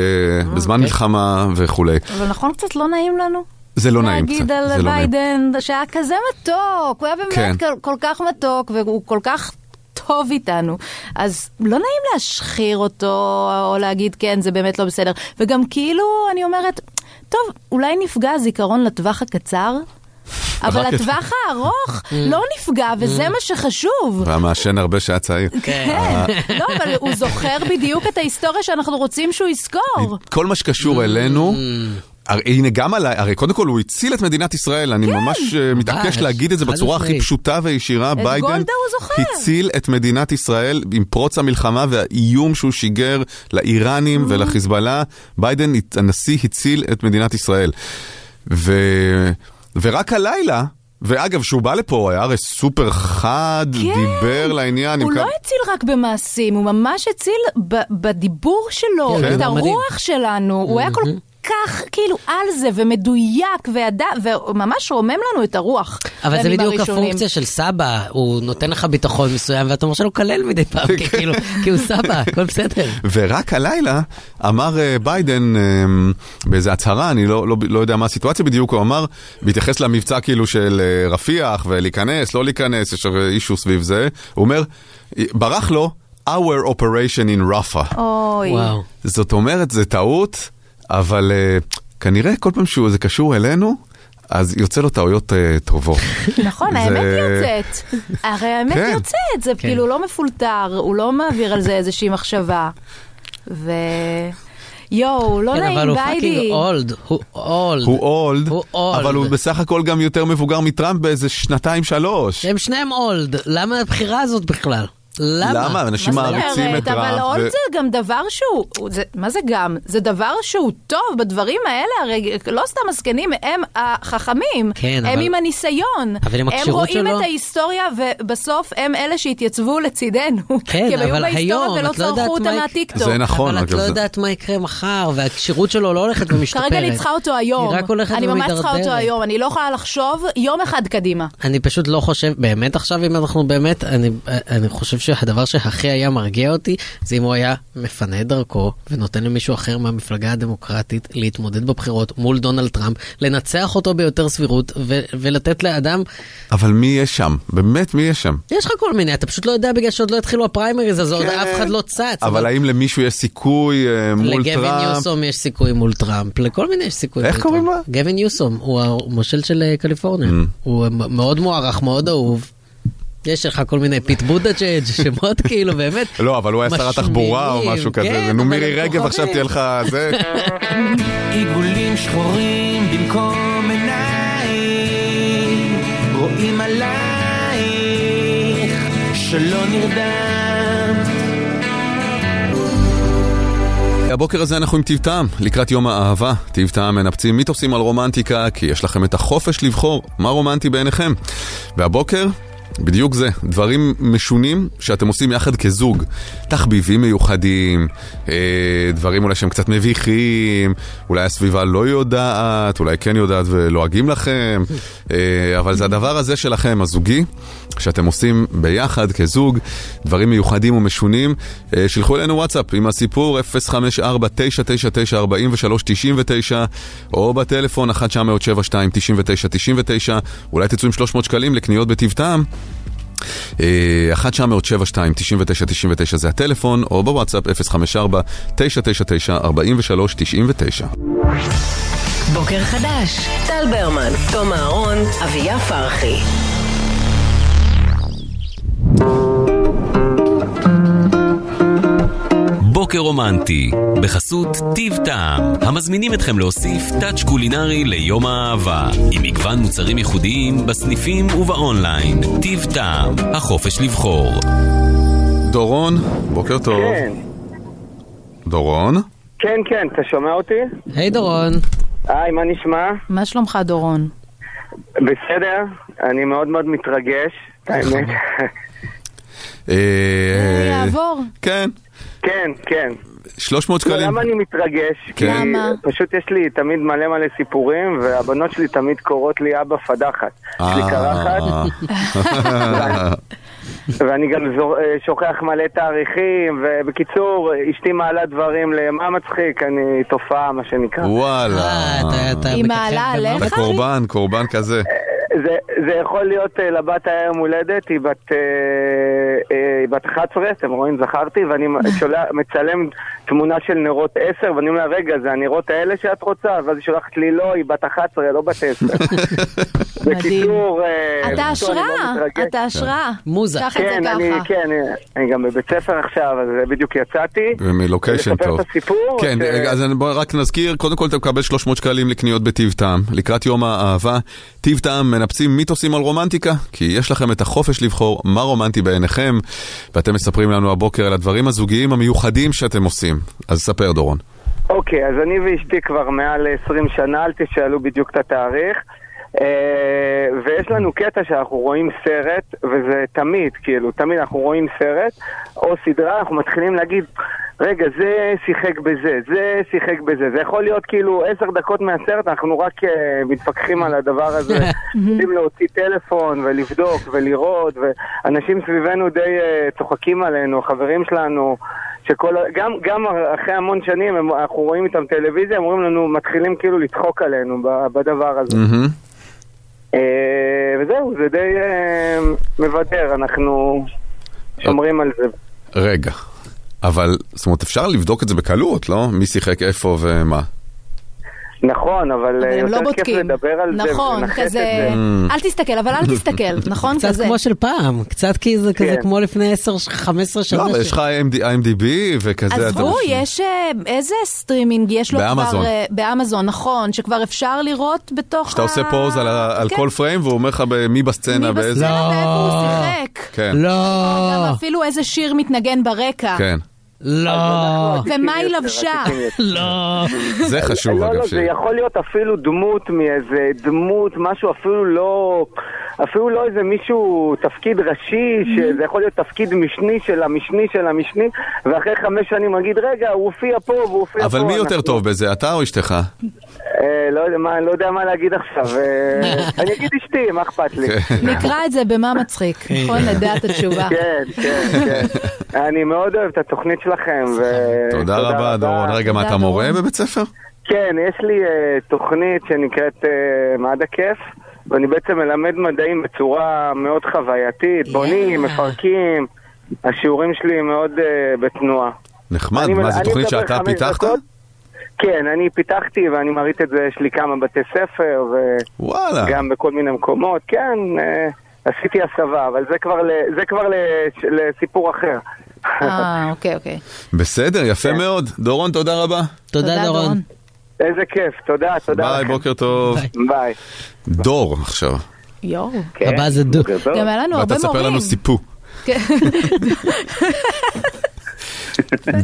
אוקיי. בזמן מלחמה וכולי. אבל נכון קצת לא נעים לנו? זה לא נעים קצת, להגיד זה על לא נעים. ביידן שהיה כזה מתוק, הוא היה באמת כן. כל, כל כך מתוק והוא כל כך טוב איתנו. אז לא נעים להשחיר אותו או להגיד כן, זה באמת לא בסדר. וגם כאילו, אני אומרת, טוב, אולי נפגע הזיכרון לטווח הקצר? אבל רק את- Mm. הטווח הארוך לא נפגע, וזה מה שחשוב. והמעשן הרבה שהיה צעיר. אה, כן, לא, אבל הוא זוכר בדיוק את ההיסטוריה שאנחנו רוצים שהוא יזכור. כל מה שקשור אלינו, Mm. הרי- הנה גם עליי, הרי קודם כל הוא הציל את מדינת ישראל, כן, אני ממש אה, מתעקש ממש, להגיד את זה חד בצורה משמעית. הכי פשוטה וישירה, גולדה ביידן הוא זוכר. הציל את מדינת ישראל עם פרוץ המלחמה והאיום שהוא שיגר Mm. לאיראנים ולחיזבאללה, ביידן, הת- הנשיא הציל את מדינת ישראל. ו... ורק הלילה, ואגב, כשהוא בא לפה הוא היה הרי סופר חד, דיבר לעניין. כן. הוא עם לא כמה- הציל רק במעשים, הוא ממש הציל ב- בדיבור שלו, כן, את דבר מדהים. הרוח שלנו. הוא היה כל כך כאילו על זה ומדויק וידע, וממש רומם לנו את הרוח. אבל זה בימים בדיוק הראשונים. הפונקציה של סבא, הוא נותן לך ביטחון מסוים ואתה מרשה לו לקלל מדי פעם, כי כן. כאילו, כי הוא סבא, הכל בסדר. ורק הלילה אמר אה, ביידן אה, באיזו הצהרה, אני לא, לא, לא יודע מה הסיטואציה בדיוק, הוא אמר, בהתייחס למבצע כאילו של אה, רפיח ולהיכנס, לא להיכנס, יש הרי אישו סביב זה, הוא אומר, ברח לו, our operation in Rafa. אוי. וואו. זאת אומרת, זה טעות, אבל אה, כנראה כל פעם שזה קשור אלינו, אז יוצא לו טעויות אה, טובות. נכון, זה- האמת יוצאת. הרי האמת כן. יוצאת, זה כאילו לא מפולטר, הוא לא מעביר על זה איזושהי מחשבה. ו... יואו, לא כן, אבל נעים, הוא פאקינג ביידי. אולד, הוא אולד. הוא אולד, הוא old. אבל הוא בסך הכל גם יותר מבוגר מטראמפ באיזה שנתיים שלוש. הם שניהם אולד, למה הבחירה הזאת בכלל? למה? למה? אנשים מה זאת מעריצים אומרת? את רב. אבל ו- הון זה גם דבר שהוא, הוא- זה- מה זה גם? זה דבר שהוא טוב בדברים האלה, הרי לא סתם הזקנים, הם החכמים. כן, הם אבל- עם הניסיון. אבל עם הם הכשירות רואים שלו- את ההיסטוריה, ובסוף הם אלה שהתייצבו לצידנו. כן, כי הם היו אבל בהיסטוריה היום, ולא את לא יודעת צרכו אותה מה יקרה. מהטיקטוק. זה נכון, אבל את אגב, לא זה- יודעת מה יקרה מחר, והכשירות שלו לא הולכת ומשתפרת. כרגע אני צריכה אותו היום. היא רק הולכת אני ממש צריכה אותו ומידרדרת. היום, אני לא יכולה לחשוב יום אחד קדימה. אני פשוט לא חושב, באמת עכשיו, אם אנחנו באמת, אני, אני חושב שהדבר שהכי היה מרגיע אותי, זה אם הוא היה מפנה את דרכו ונותן למישהו אחר מהמפלגה הדמוקרטית להתמודד בבחירות מול דונלד טראמפ, לנצח אותו ביותר סבירות ו- ולתת לאדם, אבל מי יהיה שם? באמת, מי יהיה שם? יש לך כל מיני, אתה פשוט לא יודע בגלל שעוד לא התחילו הפריימריז, אז עוד כן. אף אחד לא צץ. אבל האם למישהו יש סיכוי אה, מול לגבי טראמפ? ניוסום יש סיכוי מול טראמפ, לכל מיני יש סיכוי. איך מול קוראים Mm. טראמפ. גבי ניוסום, הוא המושל של אה, קליפורניה. הוא אה, מ- מאוד מוערך, מאוד אהוב. יש לך כל מיני פיט בודג'אג' שמות כאילו באמת. לא, אבל הוא היה שר משמיעים. התחבורה או משהו כזה. כן, זה, נו, אבל מירי הם רגב, עכשיו תהיה כוכבים. לך זה. עיגולים שחורים במקום עיניים רואים עלייך שלא נרדמת הבוקר הזה אנחנו עם טיב טעם, לקראת יום האהבה. טיב טעם מנפצים מיתוסים על רומנטיקה, כי יש לכם את החופש לבחור מה רומנטי בעיניכם. והבוקר, בדיוק זה, דברים משונים שאתם עושים יחד כזוג. תחביבים מיוחדים, אה, דברים אולי שהם קצת מביכים, אולי הסביבה לא יודעת, אולי כן יודעת ולועגים לכם, אה, אבל זה הדבר הזה שלכם, הזוגי, שאתם עושים ביחד כזוג, דברים מיוחדים ומשונים. אה, שלחו אלינו וואטסאפ עם הסיפור 054-999-4399, או בטלפון 1 907 99 אולי תצאו עם 300 שקלים לקניות אה, בטיב טעם. 1-907-299 זה הטלפון, או בוואטסאפ 054-999-4399. בוקר חדש, טל ברמן, תום אהרון, אביה פרחי. בוקר רומנטי, בחסות טיב טעם, המזמינים אתכם להוסיף טאץ' קולינרי ליום האהבה, עם מגוון מוצרים ייחודיים בסניפים ובאונליין. טיב טעם, החופש לבחור. דורון, בוקר טוב. כן, דורון? כן, כן, אתה שומע אותי? היי דורון, היי, מה נשמע? מה שלומך, דורון? בסדר, אני מאוד מאוד מתרגש, האמת. כן. אה, אה, יעבור. כן, כן, כן. 300 לא, שקלים. כן. למה אני מתרגש? כי למה? פשוט יש לי תמיד מלא מלא סיפורים, והבנות שלי תמיד קוראות לי אבא פדחת. יש לי קרחת, אה. ואני גם זור- אה, שוכח מלא תאריכים, ובקיצור, אשתי מעלה דברים למה מצחיק, אני תופעה, מה שנקרא. וואלה. אה, אתה- אתה היא מככב מעלה במראה. עליך? אתה קורבן, קורבן כזה. זה, זה יכול להיות אה, לבת היה יום הולדת, היא בת, אה, אה, היא בת 11, אתם רואים, זכרתי, ואני שולח, מצלם תמונה של נרות 10, ואני אומר, רגע, זה הנרות האלה שאת רוצה? ואז היא שולחת לי, לא, היא בת 11, לא בת 10. בקיצור, אה, בקיצור, אני אתה מאוד השראה, מתרגש. אתה השראה. מוזה. קח את זה כן, אני, ככה. כן, אני, אני גם בבית ספר עכשיו, אז אה, בדיוק יצאתי. ומלוקיישן לספר טוב. את הסיפור, כן, ש- רגע, אז אני- בוא רק נזכיר, קודם כל אתה מקבל 300 שקלים לקניות בטיב טעם. לקראת יום האהבה, טיב טעם מנפצים מיתוסים על רומנטיקה, כי יש לכם את החופש לבחור מה רומנטי בעיניכם, ואתם מספרים לנו הבוקר על הדברים הזוגיים המיוחדים שאתם עושים. אז ספר, דורון. אוקיי, אז אני ואשתי כבר מעל 20 שנה, אל תשאלו בדיוק את התאריך. אה, ויש לנו קטע שאנחנו רואים סרט, וזה תמיד, כאילו, תמיד אנחנו רואים סרט או סדרה, אנחנו מתחילים להגיד, רגע, זה שיחק בזה, זה שיחק בזה. זה יכול להיות כאילו עשר דקות מהסרט, אנחנו רק אה, מתווכחים על הדבר הזה. צריכים להוציא טלפון ולבדוק ולראות, ואנשים סביבנו די אה, צוחקים עלינו, חברים שלנו. שכל, ה- גם, גם אחרי המון שנים, הם, אנחנו רואים איתם טלוויזיה, הם אומרים לנו, מתחילים כאילו לצחוק עלינו ב- בדבר Mm. הזה. מהמם. אה, וזהו, זה די אה, מבדר, אנחנו שומרים על זה. רגע, אבל, זאת אומרת, אפשר לבדוק את זה בקלות, לא? מי שיחק איפה ומה. נכון, אבל אה, הם לא יותר כיף בודקים. לדבר על זה נכון, ולנחש את כזה, זה. אל תסתכל, אבל אל תסתכל, נכון? קצת כזה. כמו של פעם, קצת כי זה כזה כן. כמו לפני 10-15 שנה. לא, אבל יש לך IMD- IMDb וכזה. עזבו, אתה- יש אה, איזה סטרימינג יש לו באמזון. כבר... אה, באמזון, נכון, שכבר אפשר לראות בתוך... שאתה עושה ה- פוז על אה, ה- על כן, כל פריים והוא אומר לך ב- מי בסצנה, מי באיזה... בסצנה לא. ואיפה הוא שיחק. כן, לא, גם אפילו איזה שיר מתנגן ברקע. כן. לא, ומה היא יותר, לבשה? רציתי יותר. לא. זה חשוב לא, אגב. לא, ש- זה יכול להיות אפילו דמות מאיזה דמות, משהו אפילו לא, אפילו לא איזה מישהו, תפקיד ראשי, שזה יכול להיות תפקיד משני של המשני של המשני, ואחרי חמש שנים נגיד, רגע, הוא הופיע פה והוא הופיע פה. אבל מי יותר לא. אנחנו- טוב בזה, אתה או אשתך? אה, לא יודע מה- לא יודע מה להגיד עכשיו, אה, אני אגיד אשתי, מה אכפת לי? כן. נקרא את זה במה מצחיק, נכון? נדע את התשובה. כן, כן, כן. אני מאוד אוהב את התוכנית שלכם, ו- תודה רבה, דורון. רגע, מה, תודה, אתה מורה דורון. בבית ספר? כן, יש לי אה, תוכנית שנקראת אה, מד הכיף, ואני בעצם מלמד מדעים בצורה מאוד חווייתית, בונים, מפרקים, השיעורים שלי מאוד אה, בתנועה. נחמד, אני מל- מה, זו אני תוכנית מדבר שאתה חמש פיתחת? דקות. כן, אני פיתחתי ואני מרעיט את זה, יש לי כמה בתי ספר וואלה. וגם בכל מיני מקומות, כן, אה, עשיתי הסבה, אבל זה כבר, ל- זה כבר לש- לסיפור אחר. אה, אוקיי, אוקיי. בסדר, כן. יפה מאוד. דורון, תודה רבה. תודה דורון. איזה כיף, תודה, תודה ביי, לכם. בוקר טוב. ביי. ביי. דור עכשיו. יואו. כן, הבא זה דו. בוקר טוב. גם היה לנו ואתה הרבה תספר מורים. לנו סיפור. כן.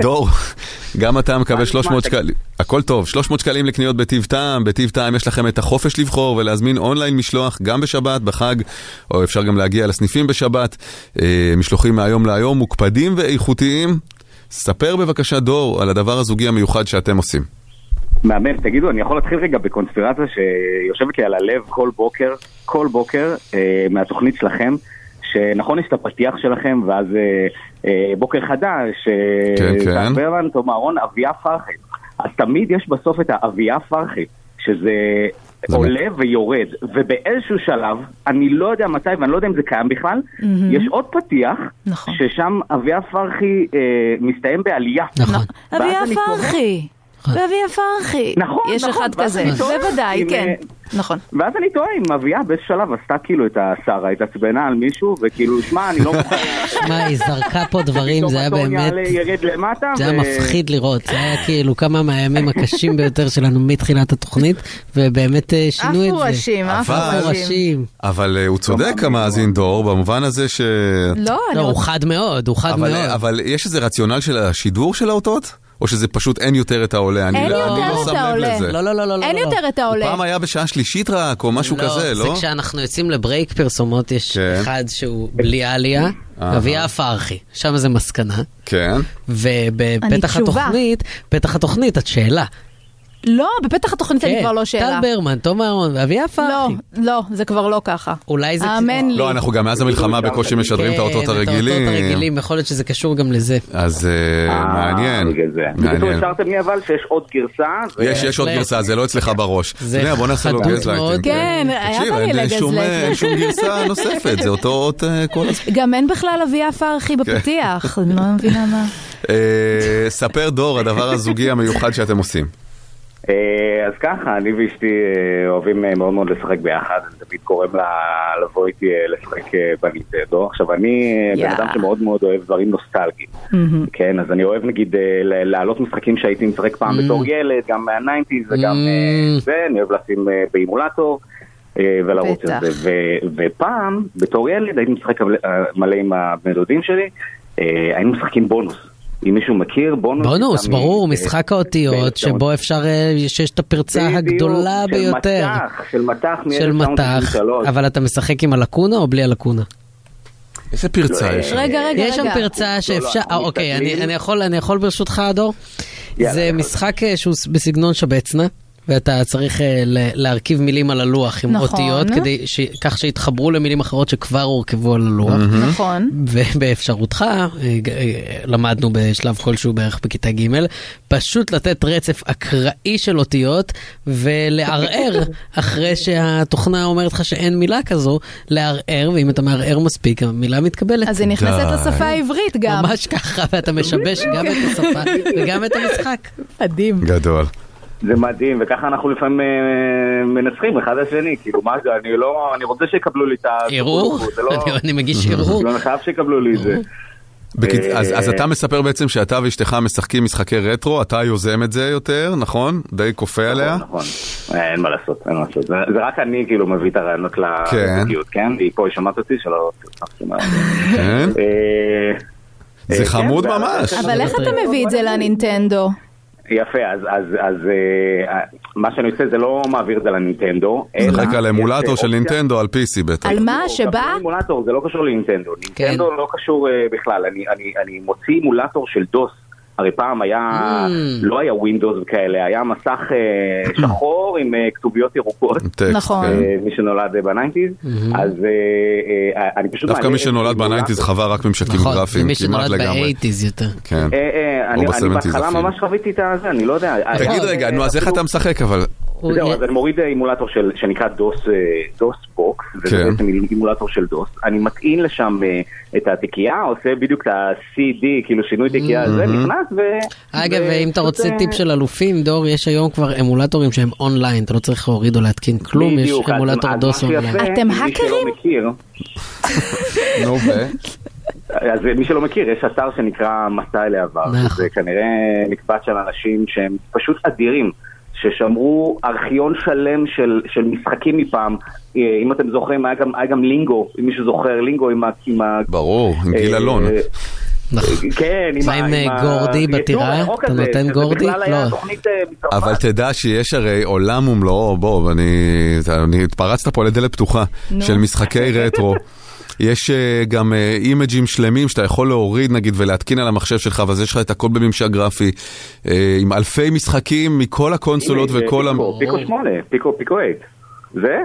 דור, גם אתה מקבל 300 שקלים, הכל טוב, 300 שקלים לקניות בטיב טעם, בטיב טעם יש לכם את החופש לבחור ולהזמין אונליין משלוח גם בשבת, בחג, או אפשר גם להגיע לסניפים בשבת, אה, משלוחים מהיום להיום, מוקפדים ואיכותיים. ספר בבקשה, דור, על הדבר הזוגי המיוחד שאתם עושים. מהמם, תגידו, אני יכול להתחיל רגע בקונספירציה שיושבת לי על הלב כל בוקר, כל בוקר אה, מהתוכנית שלכם, שנכון יש את הפתיח שלכם, ואז אה, אה, בוקר חדש, אה, כן, כן. טל ברמן, תום אהרון, אביה פרחי. אז תמיד יש בסוף את האביה פרחי, שזה זה עולה ויורד, ובאיזשהו שלב, אני לא יודע מתי ואני לא יודע אם זה קיים בכלל, יש עוד פתיח, נכון. ששם אביה פרחי אה, מסתיים בעלייה. נכון. אביה אני תוהה- פרחי. אביה פרחי. נכון, יש נכון, אחד ואז כזה. אני תוהה בוודאי, אם, כן. אה, נכון. ואז אני תוהה אם אביה באיזשהו שלב עשתה כאילו את השרה, התעצבנה על מישהו, וכאילו, שמע, אני לא מוכן, שמע, היא זרקה פה דברים, פתאום זה היה הטון באמת... יעלה, ירד למטה, זה היה ו- מפחיד לראות, זה היה כאילו כמה מהימים הקשים ביותר שלנו מתחילת התוכנית, ובאמת אה, שינו עפו את זה. ראשים, עפו אבל- ראשים. מפורשים. אבל אה, הוא צודק המאזין דור, במובן הזה ש... לא, אני לא, רוצה... הוא חד מאוד, הוא חד אבל, מאוד. אה, אבל יש איזה רציונל של השידור של האותות? או שזה פשוט אין יותר את העולה? אני אין לא- אני יותר לא את שם לב העולה. לזה. לא, לא, לא, לא, לא. אין לא. יותר את העולה. פעם היה בשעה שלישית רק, או משהו כזה, זה לא? כשאנחנו יוצאים לברייק פרסומות, יש כן. אחד שהוא בלי עלייה, אהה. אביה פרחי, שם זה מסקנה. כן. אני ובפתח תשובה. התוכנית, פתח התוכנית, את שאלה. לא, בפתח התוכנית אני כן, כבר לא שאלה. טל ברמן, תום אהרון, אביה לא, פרחי. לא, זה כבר לא ככה. אולי זה... האמן לי. לא, אנחנו גם מאז המלחמה בקושי משדרים את כן, האותות את האותות הרגילים. הרגילים, יכול להיות שזה קשור גם לזה. אז אה, אה, מעניין. בגלל זה. בקיצור, מעניין. השארתם לי אבל שיש עוד גרסה, ו- יש, יש עוד בהחלט. גרסה, זה לא אצלך בראש. זה שנייה, בוא נעשה לו חדות גזלייטינג. מאוד. כן, היה תקשיב, בא לי אין שום, לגזלייט. אה, אין שום גרסה נוספת, זה אותו אות אה, כל הזמן. גם אין בכלל אביה כן. פרחי בפתיח, אני לא מבינה מה. אה, ספר דור, הדבר הזוגי המיוחד שאתם עושים. אה, אז ככה, אני ואשתי אה, אוהבים אה, מאוד מאוד לשחק ביחד, אני תמיד קוראים לה לבוא איתי אה, לשחק אה, בניטדו. עכשיו, אני אה, יאה. בן אדם שמאוד מאוד אוהב דברים נוסטלגיים, כן? אז אני אוהב נגיד אה, ל- להעלות משחקים שהייתי משחק פעם בתור ילד, גם מהניינטיז וגם אה, Mm. זה, אני אוהב לשים אה, באימולטור. אה, ולרוץ בטח. את זה. ו- ופעם, בתור ילד, הייתי משחק מלא- אה, מלא עם הבני דודים שלי, אה, היינו משחקים בונוס. אם מישהו מכיר, בונוס... בונוס, יצא מ- ברור, אה, משחק האותיות, ב- שבו אפשר, אה, שיש את הפרצה בדיוק, הגדולה כאילו, של ביותר. מטח, של מטח מ-1993. של מטח, אבל אתה משחק עם הלקונה או בלי הלקונה? איזה פרצה לא, יש? שם? רגע, רגע, יש שם רגע. פרצה שאפשר, אנחנו אה, אוקיי, מסתכלים. אני- אני יכול- אני יכול ברשותך, דור? יאללה, זה יאללה. משחק אה, שהוא ס- בסגנון שבצנה. ואתה צריך אה, ל- להרכיב מילים על הלוח עם נכון. אותיות, כדי ש- כך שיתחברו למילים אחרות שכבר הורכבו על הלוח. נכון. ובאפשרותך, אה, ג- אה, למדנו בשלב כלשהו בערך בכיתה ג', פשוט לתת רצף אקראי של אותיות ולערער אחרי שהתוכנה אומרת לך שאין מילה כזו, לערער, ואם אתה מערער מספיק, המילה מתקבלת. אז היא נכנסת לשפה העברית גם. ממש ככה, ואתה משבש גם את השפה וגם את המשחק. מדהים. גדול. זה מדהים, וככה אנחנו לפעמים אה, מנצחים אחד את השני, כאילו מה זה, אני לא, אני רוצה שיקבלו לי את ה... ערעור? זה לא- אני- אני מגיש ערעור? לא, אני חייב שיקבלו לי את זה. בקיצ... אה, אז, אז אתה מספר בעצם שאתה ואשתך משחקים משחקי רטרו, אתה יוזם את זה יותר, נכון? די כופה עליה. נכון, אה, אין מה לעשות, אין מה לעשות. זה זה רק אני כאילו מביא את הרעיונות כן. לזוגיות, כן? היא פה, היא שומעת אותי שלא... כן? אה, זה כן, חמוד וה- ממש. אבל איך אתה מביא את זה לנינטנדו? יפה, אז, אז, אז אה, מה שאני עושה זה לא מעביר את זה לנינטנדו. משחק אלא- על אמולטור יש, של אה, נינטנדו על PC בטח. על מה? שבא? אמולטור, זה לא קשור לנינטנדו. נינטנדו לא קשור אה, בכלל, אני- אני- אני מוציא אמולטור של דוס. הרי פעם היה, לא היה ווינדוס וכאלה, היה מסך אה, שחור עם אה, כתוביות ירוקות. טקסט, נכון. כן. אה, מי שנולד אה, בניינטיז, אז אה, אה, אני פשוט... דווקא מעלה מי את שנולד האמולטור. בניינטיז חווה רק ממשקים נכון, גרפיים, למי כמעט שנולד לגמרי. באייטיז יותר. כן. אה, אה, או אני אני ב-70s בהתחלה אפילו. ממש חוויתי את הזה, אני לא יודע. תגיד רגע, נו אה, אז איך אתה משחק אבל? זהו, אז אני מוריד אימולטור של, שנקרא דוס, אה, דוס בוקס, וזה כן. בעצם אימולטור של דוס. אני מטעין לשם אה, את התיקייה, עושה בדיוק את ה-CD, כאילו שינוי תיקייה הזה, מהמם. נכנס ו... אגב, ו- אם אתה רוצה אה, טיפ של אלופים, דור, יש היום כבר אמולטורים שהם אונליין, אתה לא צריך להוריד או להתקין כלום, יש בדיוק, אז- אמולטור אז דוס מה שיפה, אונליין. אתם מי שלא האקרים? מכיר, נו ו? אז אה, מי שלא מכיר, יש אתר שנקרא מסע אל העבר. נכון. זה כנראה מקבץ של אנשים שהם פשוט אדירים, ששמרו ארכיון שלם של, של משחקים מפעם. אה, אם אתם זוכרים, היה גם, היה גם לינגו, אם מישהו זוכר, לינגו עם ה... עם ה... ברור, עם גיל אה, אלון. אה, נכון. כן, עם מה ה- עם, אה, ה- גורדי יצור בטירה? הירוק אתה הזה, נותן שזה גורדי? בכלל היה לא. תוכנית, אה, מצרפת. אבל תדע שיש הרי עולם ומלואו, בוא, אני, אני התפרצת פה לדלת פתוחה נו. של משחקי רטרו. יש אה, גם אה, אימג'ים שלמים שאתה יכול להוריד נגיד ולהתקין על המחשב שלך, ואז יש לך את הכל בממשק גרפי, אה, עם אלפי משחקים מכל הקונסולות הנה, וכל... המ- אה, פיקו, פיקו שמונה, פיקו, פיקו אייט. זה?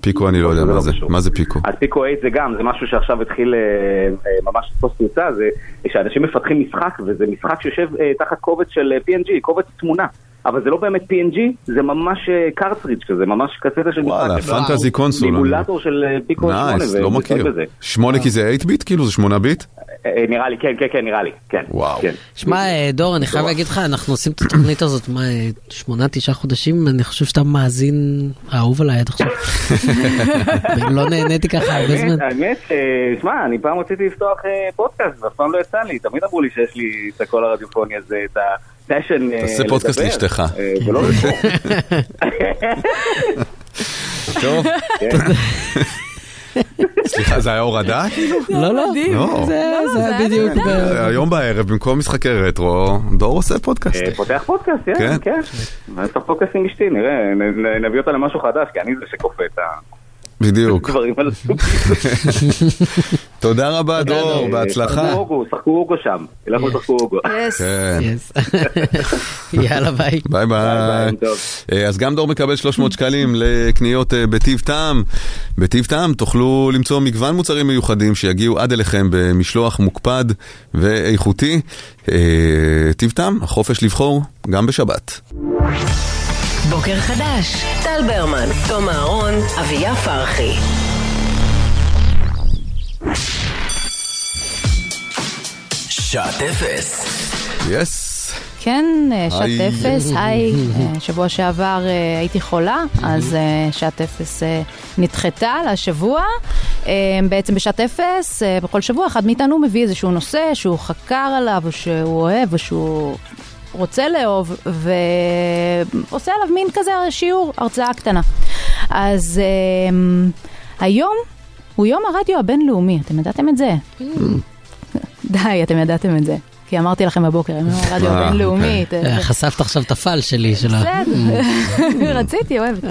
פיקו אני לא יודע זה מה לא זה, קשור. מה זה פיקו? אז פיקו 8 זה גם, זה משהו שעכשיו התחיל אה, אה, ממש לתפוס תאוצה, זה שאנשים מפתחים משחק, וזה משחק שיושב אה, תחת קובץ של אה, PNG, קובץ תמונה. אבל זה לא באמת PNG, זה ממש אה, קרטריג' כזה, ממש קסטה של משחק. וואלה, וואו. פנטזי קונסול. אימולטור של אה, פיקו 8. נייס, לא מכיר. שמונה כי זה 8 ביט? כאילו זה 8 ביט? נראה לי, כן, כן, כן, נראה לי, כן. וואו. כן. שמע, אה, דור, אני חייב להגיד לך, אנחנו עושים את התוכנית הזאת, מה, אה, שמונה, תשעה חודשים, אני חושב שאתה מאזין האהוב עליי עד עכשיו. לא נהניתי ככה הרבה זמן. האמת, האמת, אה, שמע, אני פעם רציתי לפתוח אה, פודקאסט, ואף פעם לא יצא לי, תמיד אמרו לי שיש לי את הקול הרדיופוני הזה, את הפשן אה, תעשה פודקאסט לדבר, לאשתך. אה, ולא לפה. טוב. כן. סליחה, זה היה הורדה? כאילו? לא, לא, לא. אה, זה זה זה היה בדיוק. ב- היום בערב, במקום משחקי רטרו, דור עושה פודקאסט. אה, פותח פודקאסט, כן. כן, כן. נעשה פודקאסט עם אשתי, נראה, נ- נ- נביא אותה למשהו חדש, כי אני זה שכופה את בדיוק. הדברים על הסוג. תודה רבה, דור, בהצלחה. שחקו אוגו, שחקו אוגו שם, לכו שחקו אוגו. יס. כן. Yes. יאללה, ביי. ביי ביי. יום טוב. אה, אז גם דור מקבל 300 שקלים לקניות אה, בטיב טעם. בטיב טעם תוכלו למצוא מגוון מוצרים מיוחדים שיגיעו עד אליכם במשלוח מוקפד ואיכותי. אה, טיב טעם, החופש לבחור, גם בשבת. בוקר חדש, טל ברמן, תום אהרון, אביה פרחי. שעת אפס. יס. כן, אה, שעת היי. אפס, היי, אה, שבוע שעבר אה, הייתי חולה, אז אה, שעת אפס אה, נדחתה לשבוע. אה, בעצם בשעת אפס, אה, בכל שבוע אחד מאיתנו מביא איזשהו נושא שהוא חקר עליו, או שהוא אוהב, או שהוא רוצה לאהוב, ועושה עליו מין כזה שיעור, הרצאה קטנה. אז אה, היום הוא יום הרדיו הבינלאומי, אתם ידעתם את זה? די, אתם ידעתם את זה. כי אמרתי לכם בבוקר, הם אומרים, הרדיו אה, הבינלאומי. אוקיי. אה, ת- חשפת עכשיו את הפעל שלי, של ה... בסדר, רציתי, אוהבת.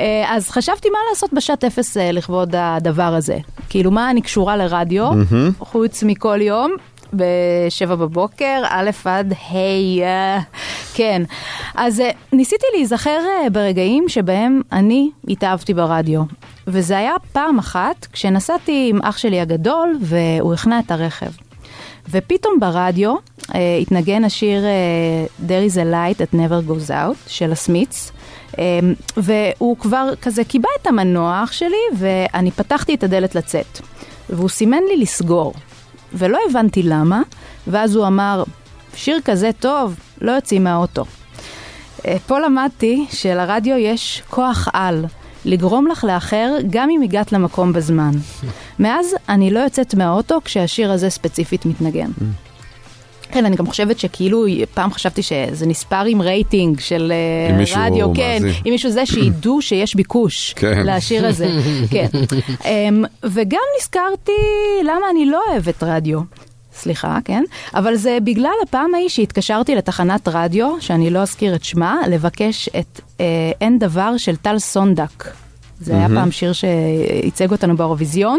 אה, אז חשבתי מה לעשות בשעת אפס אה, לכבוד הדבר הזה. כאילו, מה אני קשורה לרדיו, חוץ מכל יום, בשבע בבוקר, א' עד ה', אה, כן. אז אה, ניסיתי להיזכר אה, ברגעים שבהם אני התאהבתי ברדיו. וזה היה פעם אחת כשנסעתי עם אח שלי הגדול, והוא הכנע את הרכב. ופתאום ברדיו אה, התנגן השיר אה, There is a light that never goes out של הסמיץ. אה, והוא כבר כזה קיבע את המנוח שלי ואני פתחתי את הדלת לצאת. והוא סימן לי לסגור. ולא הבנתי למה, ואז הוא אמר, שיר כזה טוב, לא יוצאים מהאוטו. Uh, אה, פה למדתי שלרדיו יש כוח על. לגרום לך לאחר גם אם הגעת למקום בזמן. מאז אני לא יוצאת מהאוטו כשהשיר הזה ספציפית מתנגן. Mm. כן, אני גם חושבת שכאילו, פעם חשבתי שזה נספר עם רייטינג של אה, אם מישהו רדיו, כן, מאזין. אם מישהו זה שידעו שיש ביקוש כן. לשיר הזה, כן. אמ, וגם נזכרתי למה אני לא אוהבת רדיו. סליחה, כן? אבל זה בגלל הפעם ההיא שהתקשרתי לתחנת רדיו, שאני לא אזכיר את שמה, לבקש את אה, אין דבר של טל סונדק. זה היה מהמם. פעם שיר שייצג אותנו באירוויזיון,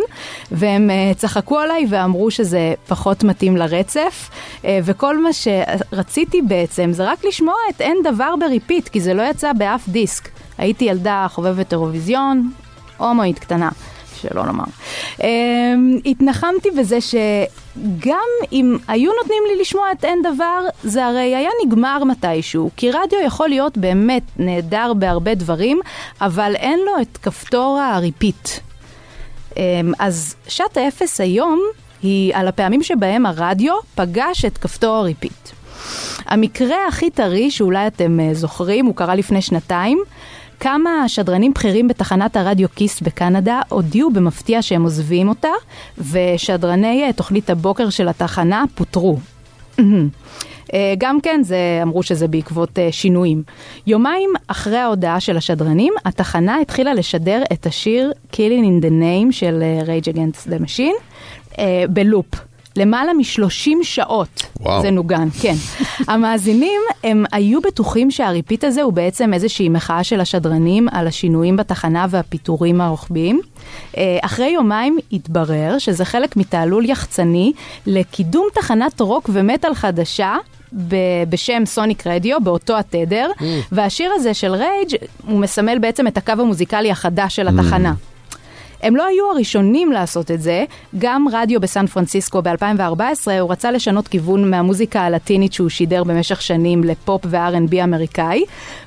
והם אה, צחקו עליי ואמרו שזה פחות מתאים לרצף, אה, וכל מה שרציתי בעצם זה רק לשמוע את אין דבר בריפיט, כי זה לא יצא באף דיסק. הייתי ילדה חובבת אירוויזיון, הומואית קטנה, שלא לומר. אה, התנחמתי בזה שגם אם היו נותנים לי לשמוע את אין דבר, זה הרי היה נגמר מתישהו, כי רדיו יכול להיות באמת נהדר בהרבה דברים, אבל אין לו את כפתור הריפיט. אמ, אז שעת האפס היום היא על הפעמים שבהם הרדיו פגש את כפתור הריפיט. המקרה הכי טרי שאולי אתם אה, זוכרים, הוא קרה לפני שנתיים. כמה שדרנים בכירים בתחנת הרדיו כיס בקנדה הודיעו במפתיע שהם עוזבים אותה, ושדרני אה, תוכנית הבוקר של התחנה פוטרו. אה, גם כן, זה, אמרו שזה בעקבות אה, שינויים. יומיים אחרי ההודעה של השדרנים, התחנה התחילה לשדר את השיר Killing in the Name של אה, Rage Against the Machine אה, בלופ. למעלה מ-30 שעות וואו. זה נוגן, כן. המאזינים, הם היו בטוחים שהריפיט הזה הוא בעצם איזושהי מחאה של השדרנים על השינויים בתחנה והפיטורים הרוחביים. אה, אחרי יומיים התברר שזה חלק מתעלול יחצני לקידום תחנת רוק ומטאל חדשה. ב- בשם סוניק רדיו, באותו התדר, Mm. והשיר הזה של רייג' הוא מסמל בעצם את הקו המוזיקלי החדש של התחנה. הם לא היו הראשונים לעשות את זה, גם רדיו בסן פרנסיסקו ב-2014, הוא רצה לשנות כיוון מהמוזיקה הלטינית שהוא שידר במשך שנים לפופ ו-R&B אמריקאי,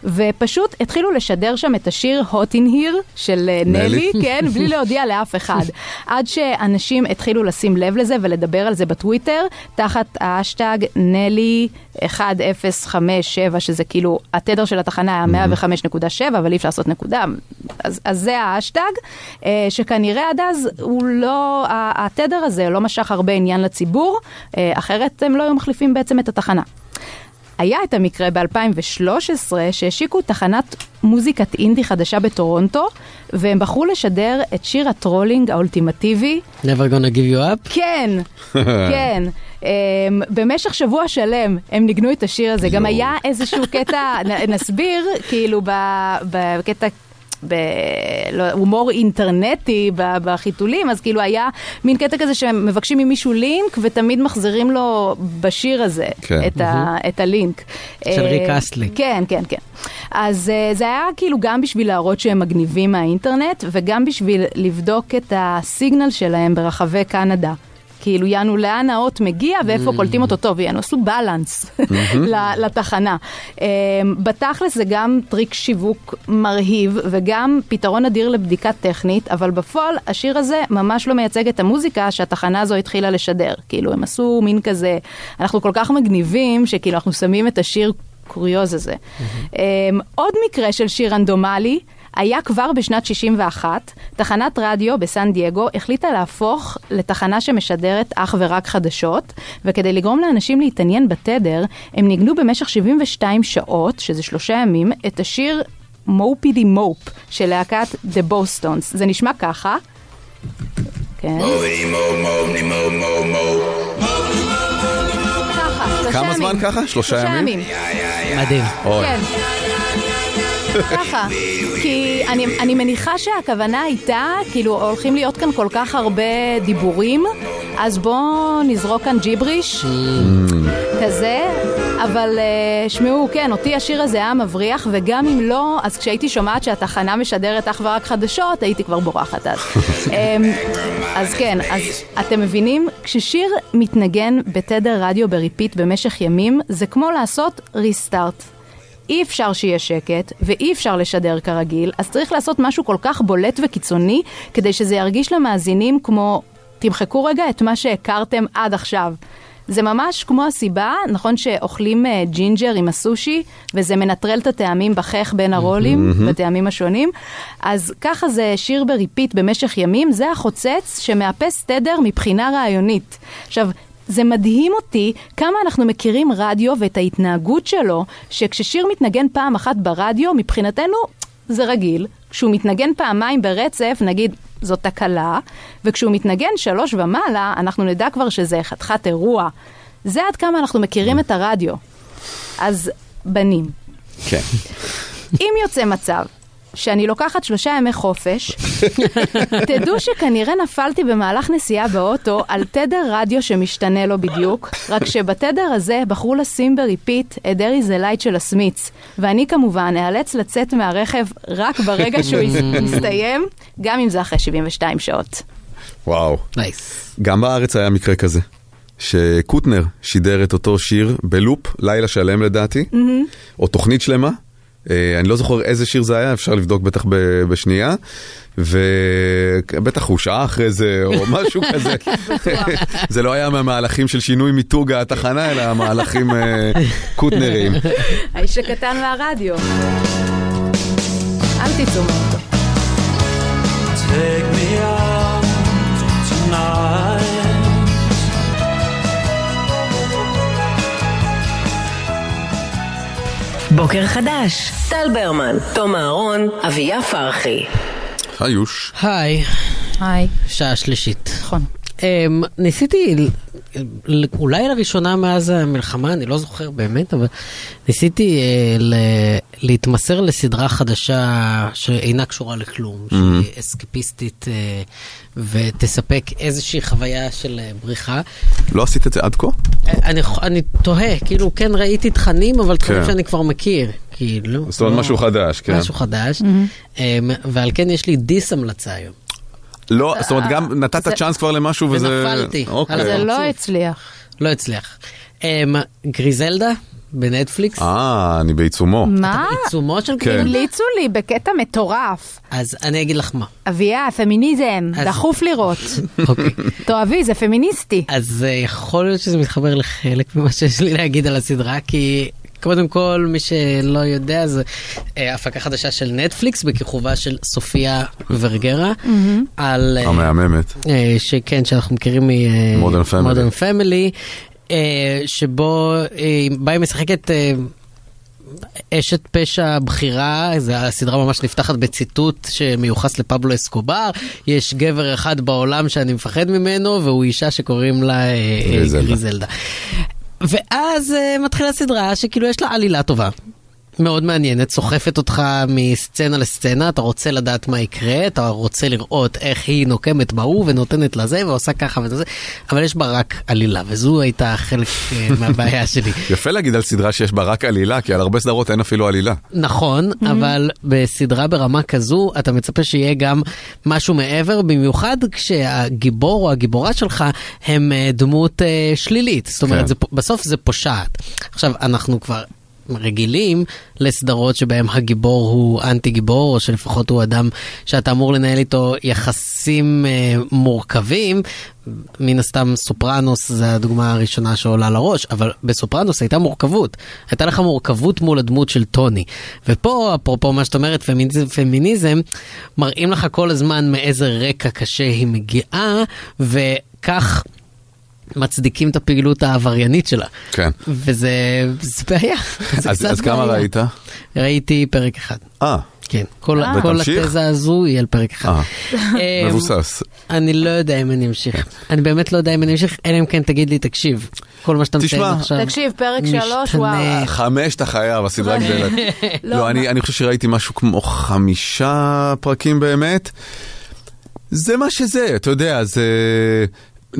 ופשוט התחילו לשדר שם את השיר Hot in Here של אה, נלי, נלי? כן, בלי להודיע לאף אחד. עד שאנשים התחילו לשים לב לזה ולדבר על זה בטוויטר, תחת האשטג נלי 1057, שזה כאילו, התדר של התחנה היה 105.7, אבל אי אפשר לעשות נקודה, אז, אז זה האשטג, אה, שכנראה עד אז הוא לא, ה- התדר הזה לא משך הרבה עניין לציבור, אה, אחרת הם לא היו מחליפים בעצם את התחנה. היה את המקרה ב-2013 שהשיקו תחנת מוזיקת אינדי חדשה בטורונטו והם בחרו לשדר את שיר הטרולינג האולטימטיבי. never gonna give you up. כן, אה. כן. Um, במשך שבוע שלם הם ניגנו את השיר הזה, גם היה איזשהו קטע, נ- נסביר, כאילו ב- בקטע... בהומור אינטרנטי ב- בחיתולים, אז כאילו היה מין קטע כזה שהם מבקשים ממישהו לינק ותמיד מחזירים לו בשיר הזה כן. את, ה- את הלינק. של אה, ריק אסלי. כן, כן, כן. אז אה, זה היה כאילו גם בשביל להראות שהם מגניבים מהאינטרנט, וגם בשביל לבדוק את הסיגנל שלהם ברחבי קנדה. כאילו, יענו, לאן האות מגיע ואיפה Mm. קולטים אותו טוב, יענו, עשו בלנס ל- לתחנה. אה, בתכלס זה גם טריק שיווק מרהיב, וגם פתרון אדיר לבדיקה טכנית, אבל בפועל, השיר הזה ממש לא מייצג את המוזיקה שהתחנה הזו התחילה לשדר. כאילו, הם עשו מין כזה, אנחנו כל כך מגניבים, שכאילו, אנחנו שמים את השיר הקוריוז הזה. אמ, עוד מקרה של שיר רנדומלי היה כבר בשנת 61, תחנת רדיו בסן דייגו החליטה להפוך לתחנה שמשדרת אך ורק חדשות, וכדי לגרום לאנשים להתעניין בתדר, הם ניגנו במשך 72 שעות, שזה שלושה ימים, את השיר מופי די מופ של להקת The בוסטונס. זה נשמע ככה. כן. ככה, שלושה כמה ימים. זמן ככה? שלושה שלושה ימים? ימים. מדהים. אוי. כן. ככה, כי אני, אני מניחה שהכוונה הייתה, כאילו הולכים להיות כאן כל כך הרבה דיבורים, אז בואו נזרוק כאן ג'יבריש Mm. כזה, אבל אה, שמעו, כן, אותי השיר הזה היה מבריח, וגם אם לא, אז כשהייתי שומעת שהתחנה משדרת אך ורק חדשות, הייתי כבר בורחת אז. אמ, אז כן, אז אתם מבינים, כששיר מתנגן בתדר רדיו בריפיט במשך ימים, זה כמו לעשות ריסטארט. אי אפשר שיהיה שקט, ואי אפשר לשדר כרגיל, אז צריך לעשות משהו כל כך בולט וקיצוני, כדי שזה ירגיש למאזינים כמו, תמחקו רגע את מה שהכרתם עד עכשיו. זה ממש כמו הסיבה, נכון שאוכלים אה, ג'ינג'ר עם הסושי, וזה מנטרל את הטעמים בחך בין הרולים, מהמם. בטעמים השונים, אז ככה זה שיר בריפיט במשך ימים, זה החוצץ שמאפס תדר מבחינה רעיונית. עכשיו, זה מדהים אותי כמה אנחנו מכירים רדיו ואת ההתנהגות שלו, שכששיר מתנגן פעם אחת ברדיו, מבחינתנו זה רגיל. כשהוא מתנגן פעמיים ברצף, נגיד, זו תקלה, וכשהוא מתנגן שלוש ומעלה, אנחנו נדע כבר שזה חתיכת אירוע. זה עד כמה אנחנו מכירים את הרדיו. אז בנים, כן. אם יוצא מצב שאני לוקחת שלושה ימי חופש, תדעו שכנראה נפלתי במהלך נסיעה באוטו על תדר רדיו שמשתנה לו בדיוק, רק שבתדר הזה בחרו לשים בריפיט את דרעי זה לייט של הסמיץ, ואני כמובן אאלץ לצאת מהרכב רק ברגע שהוא יס- יסתיים, גם אם זה אחרי 72 שעות. וואו. נייס. גם בארץ היה מקרה כזה, שקוטנר שידר את אותו שיר בלופ, לילה שלם לדעתי, Mm-hmm. מהמם. או תוכנית שלמה. אה, אני לא זוכר איזה שיר זה היה, אפשר לבדוק בטח ב- בשנייה, ובטח הוא שעה אחרי זה, או משהו כזה. זה לא היה מהמהלכים של שינוי מיתוג התחנה, אלא מהלכים אה, קוטנריים. האיש הקטן והרדיו. אל תצאו מאוטו. Take me out tonight. בוקר חדש, טל ברמן, תום אהרון, אביה פרחי. היוש. היי. היי. שעה שלישית. אמ, נכון. ניסיתי, ל- ל- אולי לראשונה מאז המלחמה, אני לא זוכר באמת, אבל ניסיתי אה, ל- להתמסר לסדרה חדשה שאינה קשורה לכלום, Mm-hmm. Mhm. שהיא אסקפיסטית אה, ותספק איזושהי חוויה של אה, בריחה. לא עשית את זה עד כה? אני, אני תוהה, כאילו כן ראיתי תכנים, אבל תכנים כן. שאני כבר מכיר, כאילו. זאת אומרת, לא- משהו חדש, כן. משהו חדש, Mm-hmm. אמ, ועל כן יש לי דיס המלצה היום. לא, זאת אומרת, גם נתת אה, זה- צ'אנס כבר למשהו וזה... ונפלתי. אוקיי. אז זה לא הצליח. לא הצליח. אמ, גריזלדה בנטפליקס. אה, אני בעיצומו. מה? בעיצומו של כן. המליצו לי בקטע מטורף. אז אני אגיד לך מה. אביה, פמיניזם, אז- דחוף לראות. אוקיי. תאהבי, זה פמיניסטי. אז אה, יכול להיות שזה מתחבר לחלק ממה שיש לי להגיד על הסדרה, כי קודם כל, מי שלא יודע, זה אה, הפקה חדשה של נטפליקס בכיכובה של סופיה ורגרה, על... אה, המהממת. אה, שכן, שאנחנו מכירים אה, Modern Family. מודרן פמילי, שבו אה, בה היא משחקת אה, אשת פשע בכירה, זה, הסדרה ממש נפתחת בציטוט שמיוחס לפבלו אסקובר, יש גבר אחד בעולם שאני מפחד ממנו, והוא אישה שקוראים לה אה, אה, גריזלדה. גריזלדה. ואז אה, מתחילה סדרה שכאילו יש לה עלילה טובה. מאוד מעניינת, סוחפת אותך מסצנה לסצנה, אתה רוצה לדעת מה יקרה, אתה רוצה לראות איך היא נוקמת בהוא ונותנת לזה ועושה ככה וזה, אבל יש בה רק עלילה, וזו הייתה חלק אה, מהבעיה שלי. יפה להגיד על סדרה שיש בה רק עלילה, כי על הרבה סדרות אין אפילו עלילה. נכון, אבל בסדרה ברמה כזו, אתה מצפה שיהיה גם משהו מעבר, במיוחד כשהגיבור או הגיבורה שלך הם אה, דמות אה, שלילית. זאת אומרת, כן. זה, פ- בסוף זה פושעת. עכשיו, אנחנו כבר... רגילים לסדרות שבהם הגיבור הוא אנטי גיבור, או שלפחות הוא אדם שאתה אמור לנהל איתו יחסים אה, מורכבים. מן הסתם סופרנוס זה הדוגמה הראשונה שעולה לראש, אבל בסופרנוס הייתה מורכבות. הייתה לך מורכבות מול הדמות של טוני. ופה, אפרופו מה שאת אומרת, פמיניזם, פמיניזם מראים לך כל הזמן מאיזה רקע קשה היא מגיעה, וכך... מצדיקים את הפעילות העבריינית שלה. כן. וזה זה בעיה. זה אז קצת אז כמה בעיה. ראית? ראיתי פרק אחד. אה. כן. כל, אה. כל ותמשיך? התזה הזו היא על פרק אחד. אה. אמ, מבוסס. כן. אני לא יודע אם אני אמשיך. אני באמת לא יודע אם אני אמשיך, אלא אם כן תגיד לי, תקשיב. כל מה שאתה מציין תשמע. עכשיו. תקשיב, פרק שלוש, משתנה. וואו. חמש אתה חייב, הסדרה לא, גדלה. לא, לא, אני אני חושב שראיתי משהו כמו חמישה פרקים באמת. זה מה שזה, אתה יודע, זה...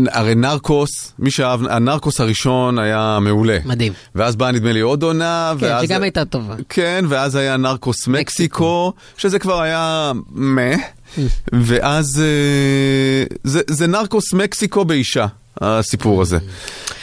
הרי נרקוס, מי שאהב, הנרקוס הראשון היה מעולה. מדהים. ואז באה נדמה לי עוד עונה, כן, ואז... שגם הייתה טובה. כן, ואז היה נרקוס מקסיקו, שזה כבר היה מה, ואז אה, זה, זה נרקוס מקסיקו באישה. הסיפור הזה.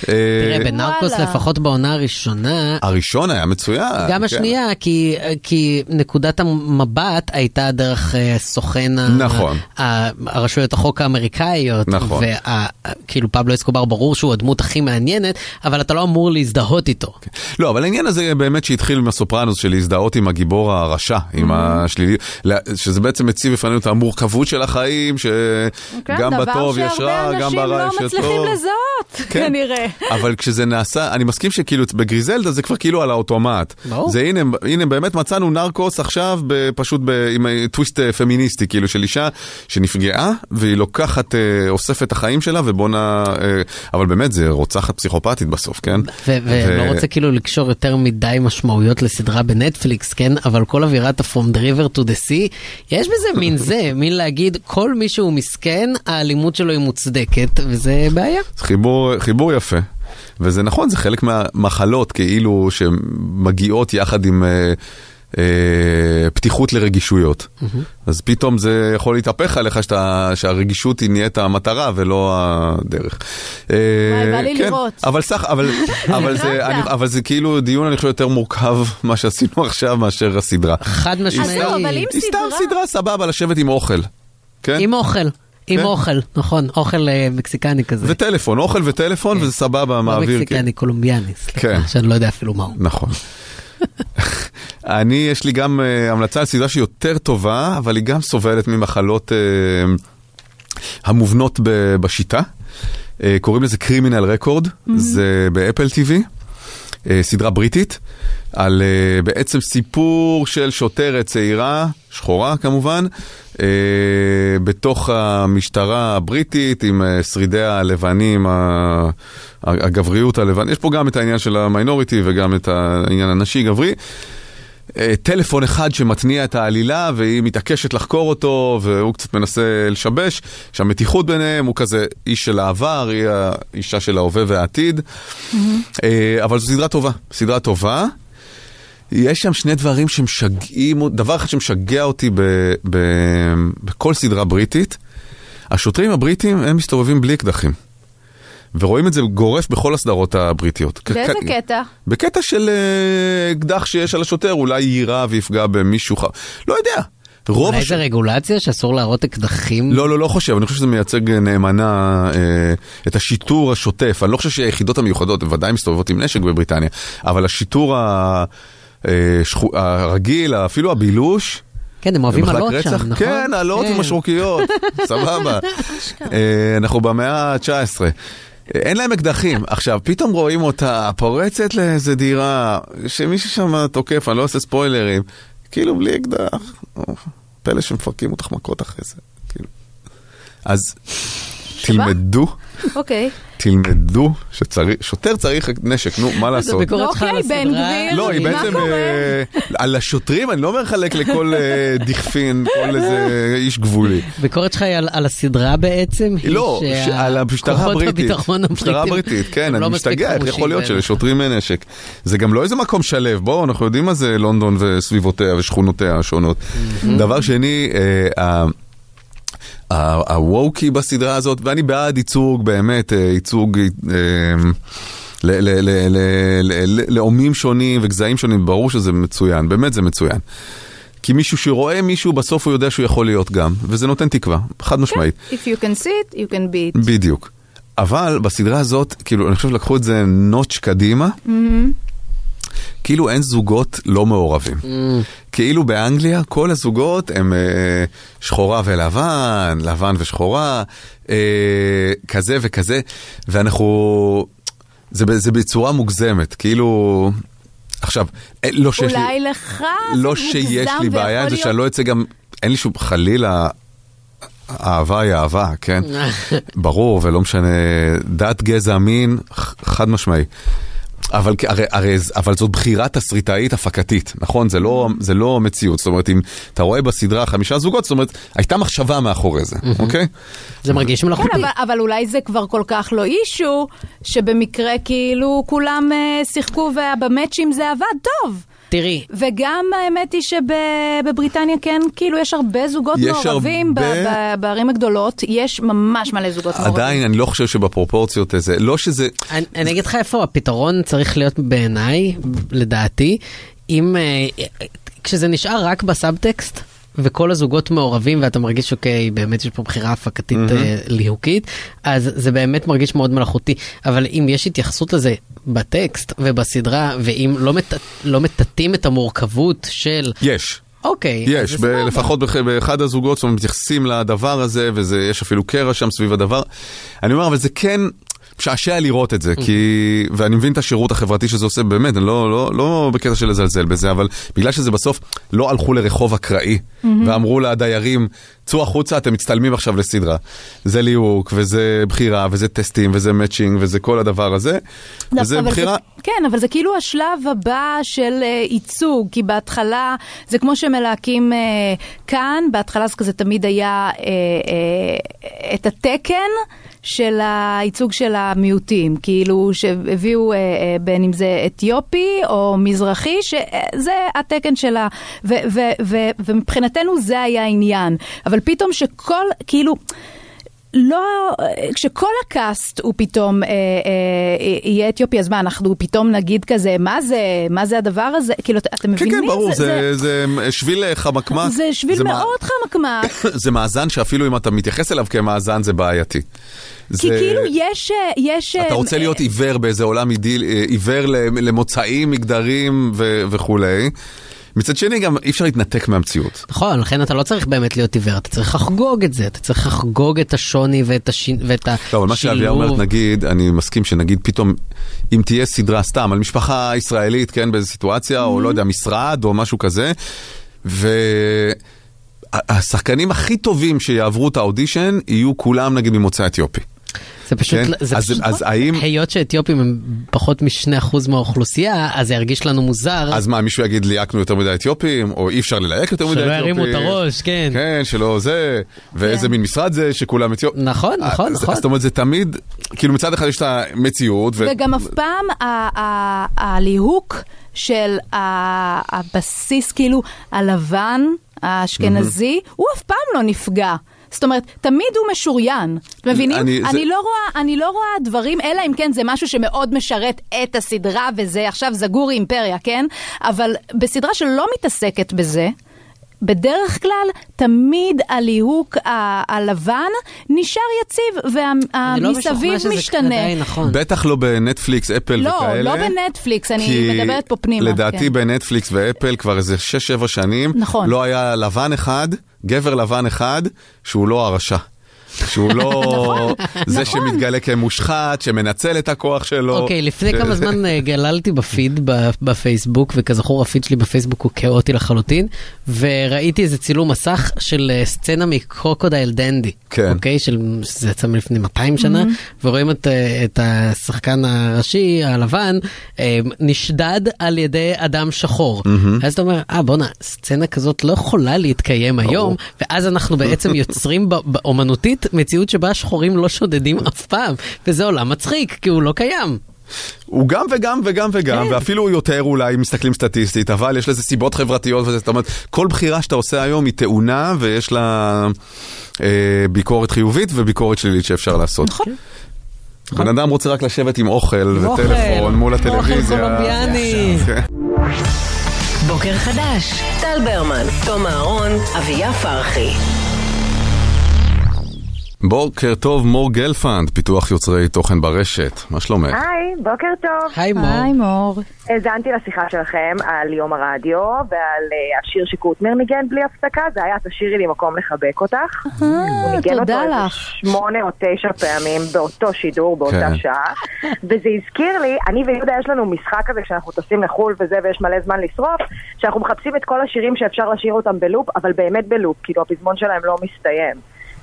אה, תראה, בנרקוס לפחות בעונה הראשונה, הראשון היה מצוין. גם כן. השנייה, כי, כי נקודת המבט הייתה דרך אה, סוכן ה- נכון. ה- הרשויות החוק האמריקאיות. נכון. וה- כאילו פבלו אסקובר ברור שהוא הדמות הכי מעניינת, אבל אתה לא אמור להזדהות איתו. לא, אבל העניין הזה באמת שהתחיל עם הסופרנוס של להזדהות עם הגיבור הרשע, Mm-hmm. עם השלילי, ל- שזה בעצם מציב בפנינו את המורכבות של החיים, שגם בטוב יש רע, גם ברע דבר שהרבה כן, יש אנשים לא טוב. מצליחים לזהות, כן. כנראה. אבל כשזה נעשה, אני מסכים שכאילו בגריזלדה זה כבר כאילו על האוטומט. ברור. זה הנה, הנה באמת מצאנו נרקוס עכשיו ב- פשוט ב, עם אה, טוויסט אה, פמיניסטי, כאילו של אישה שנפגעה והיא לוקחת, אה, אוספת את החיים שלה ובונה, אה, אבל באמת זה רוצחת פסיכופתית בסוף, כן? ו- ולא רוצה כאילו לקשור יותר מדי משמעויות לסדרה בנטפליקס, כן? אבל כל אווירת ה-From the River to the Sea, יש בזה מין זה, מין להגיד, כל מי שהוא מסכן, האלימות שלו היא מוצדקת, וזה בעיה. חיבור, חיבור יפה. וזה נכון, זה חלק מהמחלות כאילו שמגיעות יחד עם אה, אה, פתיחות לרגישויות. מהמם. אז פתאום זה יכול להתהפך עליך שאתה, שהרגישות היא נהיית המטרה ולא הדרך. וואי, בא לי לראות. אבל סך, אבל, אבל, זה, אני, אבל זה כאילו דיון אני חושב יותר מורכב מה שעשינו עכשיו מאשר הסדרה. חד משמעית. היא סתם- היא סתם סדרה סבבה לשבת עם אוכל. כן? עם אוכל, עם כן. אוכל, נכון, אוכל אה, מקסיקני כזה. וטלפון, אוכל וטלפון וזה סבבה, לא מעביר. כאילו. מקסיקני, קולומביאני, כן. סליחה, שאני לא יודע אפילו מהו. נכון. אני, יש לי גם uh, המלצה על סדרה שהיא יותר טובה, אבל היא גם סובלת ממחלות uh, המובנות ב- בשיטה. Uh, קוראים לזה קרימינל רקורד, זה באפל TV, uh, סדרה בריטית, על uh, בעצם סיפור של שוטרת צעירה, שחורה כמובן, uh, בתוך המשטרה הבריטית עם uh, שרידיה הלבנים, ה- הגבריות הלבנית, יש פה גם את העניין של המיינוריטי וגם את העניין הנשי-גברי. אה, טלפון אחד שמתניע את העלילה והיא מתעקשת לחקור אותו והוא קצת מנסה לשבש, יש שם מתיחות ביניהם, הוא כזה איש של העבר, היא האישה של ההווה והעתיד. אה, אבל זו סדרה טובה, סדרה טובה. יש שם שני דברים שמשגעים, דבר אחד שמשגע אותי ב, ב, בכל סדרה בריטית, השוטרים הבריטים הם מסתובבים בלי אקדחים. ורואים את זה גורף בכל הסדרות הבריטיות. באיזה כ- קטע? בקטע של אה, אקדח שיש על השוטר, אולי יירה ויפגע במישהו ח... לא יודע. רוב אולי זה רגולציה שאסור להראות אקדחים? לא, לא, לא חושב, אני חושב שזה מייצג נאמנה אה, את השיטור השוטף. אני לא חושב שהיחידות המיוחדות בוודאי מסתובבות עם נשק בבריטניה, אבל השיטור ה, אה, שחו, הרגיל, אפילו הבילוש... כן, הם אוהבים במחלק עלות שם, רצח, נכון? כן, עלות כן. ומשרוקיות, סבבה. אה, אנחנו במאה ה-19. אין להם אקדחים. עכשיו, פתאום רואים אותה פורצת לאיזה דירה, שמישהו שם תוקף, אני לא עושה ספוילרים, כאילו בלי אקדח. פלא שמפרקים אותך מכות אחרי זה. כאילו. אז תלמדו, אוקיי. תלמדו שצריך, שוטר צריך נשק, נו, מה לעשות? אוקיי, בן גביר, לא, היא מה בעצם, קורה? אה, על השוטרים אני לא מחלק לכל אה, דכפין, כל איזה איש גבולי. הביקורת שלך היא על, על הסדרה בעצם? היא לא, ש- על המשטרה שהכוחות הבריטית. הביטחון המשטרה הבריטית, כן, הם אני לא מספיק משתגע, איך חמושים יכול להיות בהם. שלשוטרים אין נשק. זה גם לא איזה מקום שלו, בואו, אנחנו יודעים מה זה לונדון וסביבותיה ושכונותיה השונות. דבר שני, אה, ה- ה- הווקי בסדרה הזאת, ואני בעד ייצוג, באמת, אה, ייצוג... אה, ל- ל- ל- ל- ל- ל- לאומים שונים וגזעים שונים, ברור שזה מצוין, באמת זה מצוין. כי מישהו שרואה מישהו, בסוף הוא יודע שהוא יכול להיות גם, וזה נותן תקווה, כן. חד משמעית. If you can see it, you can be it. בדיוק. אבל בסדרה הזאת, כאילו, אני חושב שלקחו את זה נוטש קדימה, מהמם. כאילו אין זוגות לא מעורבים. כאילו באנגליה כל הזוגות הם אה, שחורה ולבן, לבן ושחורה, אה, כזה וכזה, ואנחנו... זה, ב- זה בצורה מוגזמת, כאילו... עכשיו, אה, לא שיש לי... אולי לך לא זה שיש מוגזם לי בעיה עם ויכול זה שאני להיות- לא אצא גם, אין לי שום, חלילה, אהבה היא אהבה, כן? ברור, ולא משנה, דת, גזע, מין, ח- חד משמעי. אבל, כ- הרי, הרי, ז- אבל זאת בחירה תסריטאית הפקתית, נכון? זה לא, זה לא מציאות. זאת אומרת, אם אתה רואה בסדרה חמישה זוגות, זאת אומרת, הייתה מחשבה מאחורי זה, אוקיי? זה מרגיש כן, אבל, אבל אולי זה כבר כל כך לא אישו, שבמקרה כאילו כולם אה, שיחקו ובמאצ'ים זה עבד טוב. תראי. וגם האמת היא שבבריטניה כן, כאילו יש הרבה זוגות יש מעורבים ב- הרבה- ב- בערים הגדולות, יש ממש מלא זוגות מעורבים. עדיין, אני לא חושב שבפרופורציות איזה, לא שזה... אני, אני אגיד לך איפה הפתרון צריך להיות בעיניי, לדעתי, אם... אה, כשזה נשאר רק בסאבטקסט, וכל הזוגות מעורבים ואתה מרגיש אוקיי, באמת יש פה בחירה הפקתית מהמם. אה, ליהוקית, אז זה באמת מרגיש מאוד מלאכותי. אבל אם יש התייחסות לזה בטקסט ובסדרה, ואם לא, מט... לא מטאטאים את המורכבות של... יש. אוקיי. אה, אז יש, זה ב- סבבה. לפחות בח- באחד הזוגות, זאת אומרת, מתייחסים לדבר הזה, ויש אפילו קרע שם סביב הדבר. אני אומר, אבל זה כן משעשע לראות את זה, Mm. כי... ואני מבין את השירות החברתי שזה עושה, באמת, אני לא, לא, לא בקטע של לזלזל בזה, אבל בגלל שזה בסוף לא הלכו לרחוב אקראי, Mm-hmm. מהמם. ואמרו לדיירים, צאו החוצה, אתם מצטלמים עכשיו לסדרה. זה ליהוק, וזה בחירה, וזה טסטים, וזה מאצ'ינג, וזה כל הדבר הזה. דווקא, וזה אבל בחירה... זה, כן, אבל זה כאילו השלב הבא של אה, ייצוג, כי בהתחלה זה כמו שמלהקים אה, כאן, בהתחלה זה כזה תמיד היה אה, אה, את התקן של הייצוג של המיעוטים, כאילו שהביאו אה, אה, בין אם זה אתיופי או מזרחי, שזה התקן שלה, ו, ו, ו, ומבחינתנו זה היה העניין, אבל פתאום שכל, כאילו... לא, כשכל הקאסט הוא פתאום אה, אה, יהיה אתיופי, אז מה, אנחנו פתאום נגיד כזה, מה זה, מה זה הדבר הזה? כאילו, את- אתם כן, מבינים? כן, ברור, זה, זה, זה שביל חמקמק. זה שביל מה- מאוד חמקמק. זה מאזן שאפילו אם אתה מתייחס אליו כמאזן זה בעייתי. כי כאילו יש... אה, יש אתה רוצה להיות עיוור באיזה עולם אידיל, אה, עיוור ל- למוצאים, מגדרים ו- וכולי. מצד שני גם אי אפשר להתנתק מהמציאות. נכון, לכן אתה לא צריך באמת להיות עיוור, אתה צריך לחגוג את זה, אתה צריך לחגוג את השוני ואת, השין... ואת השילוב. לא, אבל מה שאביה אומרת, נגיד, אני מסכים שנגיד פתאום, אם תהיה סדרה סתם על משפחה ישראלית, כן, באיזו סיטואציה, או Mm-hmm. לא יודע, משרד, או משהו כזה, והשחקנים הכי טובים שיעברו את האודישן, יהיו כולם נגיד ממוצא אתיופי. זה פשוט, כן? כן? זה אז- פשוט אז האם... היות שאתיופים הם פחות מ-2% מהאוכלוסייה, אז זה ירגיש לנו מוזר. אז מה, מישהו יגיד ליהקנו יותר מדי אתיופים, או אי אפשר ללהק יותר מדי שלא אתיופים. ירימו את הראש, כן. כן, שלא זה, כן. ואיזה מין משרד זה שכולם אתיופים. נכון, נכון, נכון. זאת אומרת, זה תמיד, כאילו מצד אחד יש את המציאות, ו- וגם אף פעם ה- ה- הליהוק של ה- הבסיס, כאילו, הלבן, האשכנזי, הוא אף פעם לא נפגע. זאת אומרת, תמיד הוא משוריין, אתם מבינים? אני- אני, זה- אני, לא רואה, אני לא רואה דברים, אלא אם כן זה משהו שמאוד משרת את הסדרה, וזה עכשיו זגורי אימפריה, כן? אבל בסדרה שלא מתעסקת בזה, בדרך כלל תמיד הליהוק ה- הלבן נשאר יציב, לא משוכנע והמסביב שזה משתנה. עדיין נכון. בטח לא בנטפליקס, אפל לא, וכאלה. לא בנטפליקס, אני כי מדברת פה פנימה, לדעתי כן. בנטפליקס ואפל כבר איזה 6-7 שנים, נכון. לא היה לבן אחד, גבר לבן אחד, שהוא לא הרשע. שהוא לא נכון, זה שמתגלה כמושחת, שמנצל את הכוח שלו. אוקיי, לפני ש- כמה זמן אה, גללתי בפיד ב- בפייסבוק, וכזכור הפיד שלי בפייסבוק הוא כאוטי לחלוטין, וראיתי איזה צילום מסך של אה, סצנה מקרוקודייל דנדי. כן. אוקיי, של, זה יצא מלפני 200 שנה, מהמם. ורואים את, אה, את השחקן הראשי, הלבן, אה, נשדד על ידי אדם שחור. מהמם. אז אתה אומר, אה בואנה, סצנה כזאת לא יכולה להתקיים היום, ואז אנחנו בעצם יוצרים ב- באומנותית מציאות שבה השחורים לא שודדים אף פעם, וזה עולם מצחיק, כי הוא לא קיים. הוא גם וגם וגם וגם, ואפילו יותר אולי, אם מסתכלים סטטיסטית, אבל יש לזה סיבות חברתיות וזה, זאת אומרת, כל בחירה שאתה עושה היום היא טעונה ויש לה אה, ביקורת חיובית וביקורת שלילית שאפשר לעשות. נכון. בן אדם רוצה רק לשבת עם אוכל אוכל. וטלפון מול אוכל הטלוויזיה. קולומביאני. כן. בוקר חדש, טל ברמן, תום אהרון, אביה פרחי. בוקר טוב, מור גלפנד, פיתוח יוצרי תוכן ברשת, מה שלומך? היי, בוקר טוב. היי מור. היי, מור. האזנתי לשיחה שלכם על יום הרדיו ועל אה, השיר שקוטנר ניגן בלי הפסקה, זה היה תשאירי לי מקום לחבק אותך. הוא ניגן אותו תודה איזה לך. שמונה או תשע פעמים באותו שידור, באותה כן. שעה. וזה הזכיר לי, אני ויהודה יש לנו משחק כזה כשאנחנו טסים לחו"ל וזה ויש מלא זמן לשרוף, שאנחנו מחפשים את כל השירים שאפשר לשיר אותם בלופ, אבל באמת בלופ, כאילו הפזמון שלהם לא מסתיים.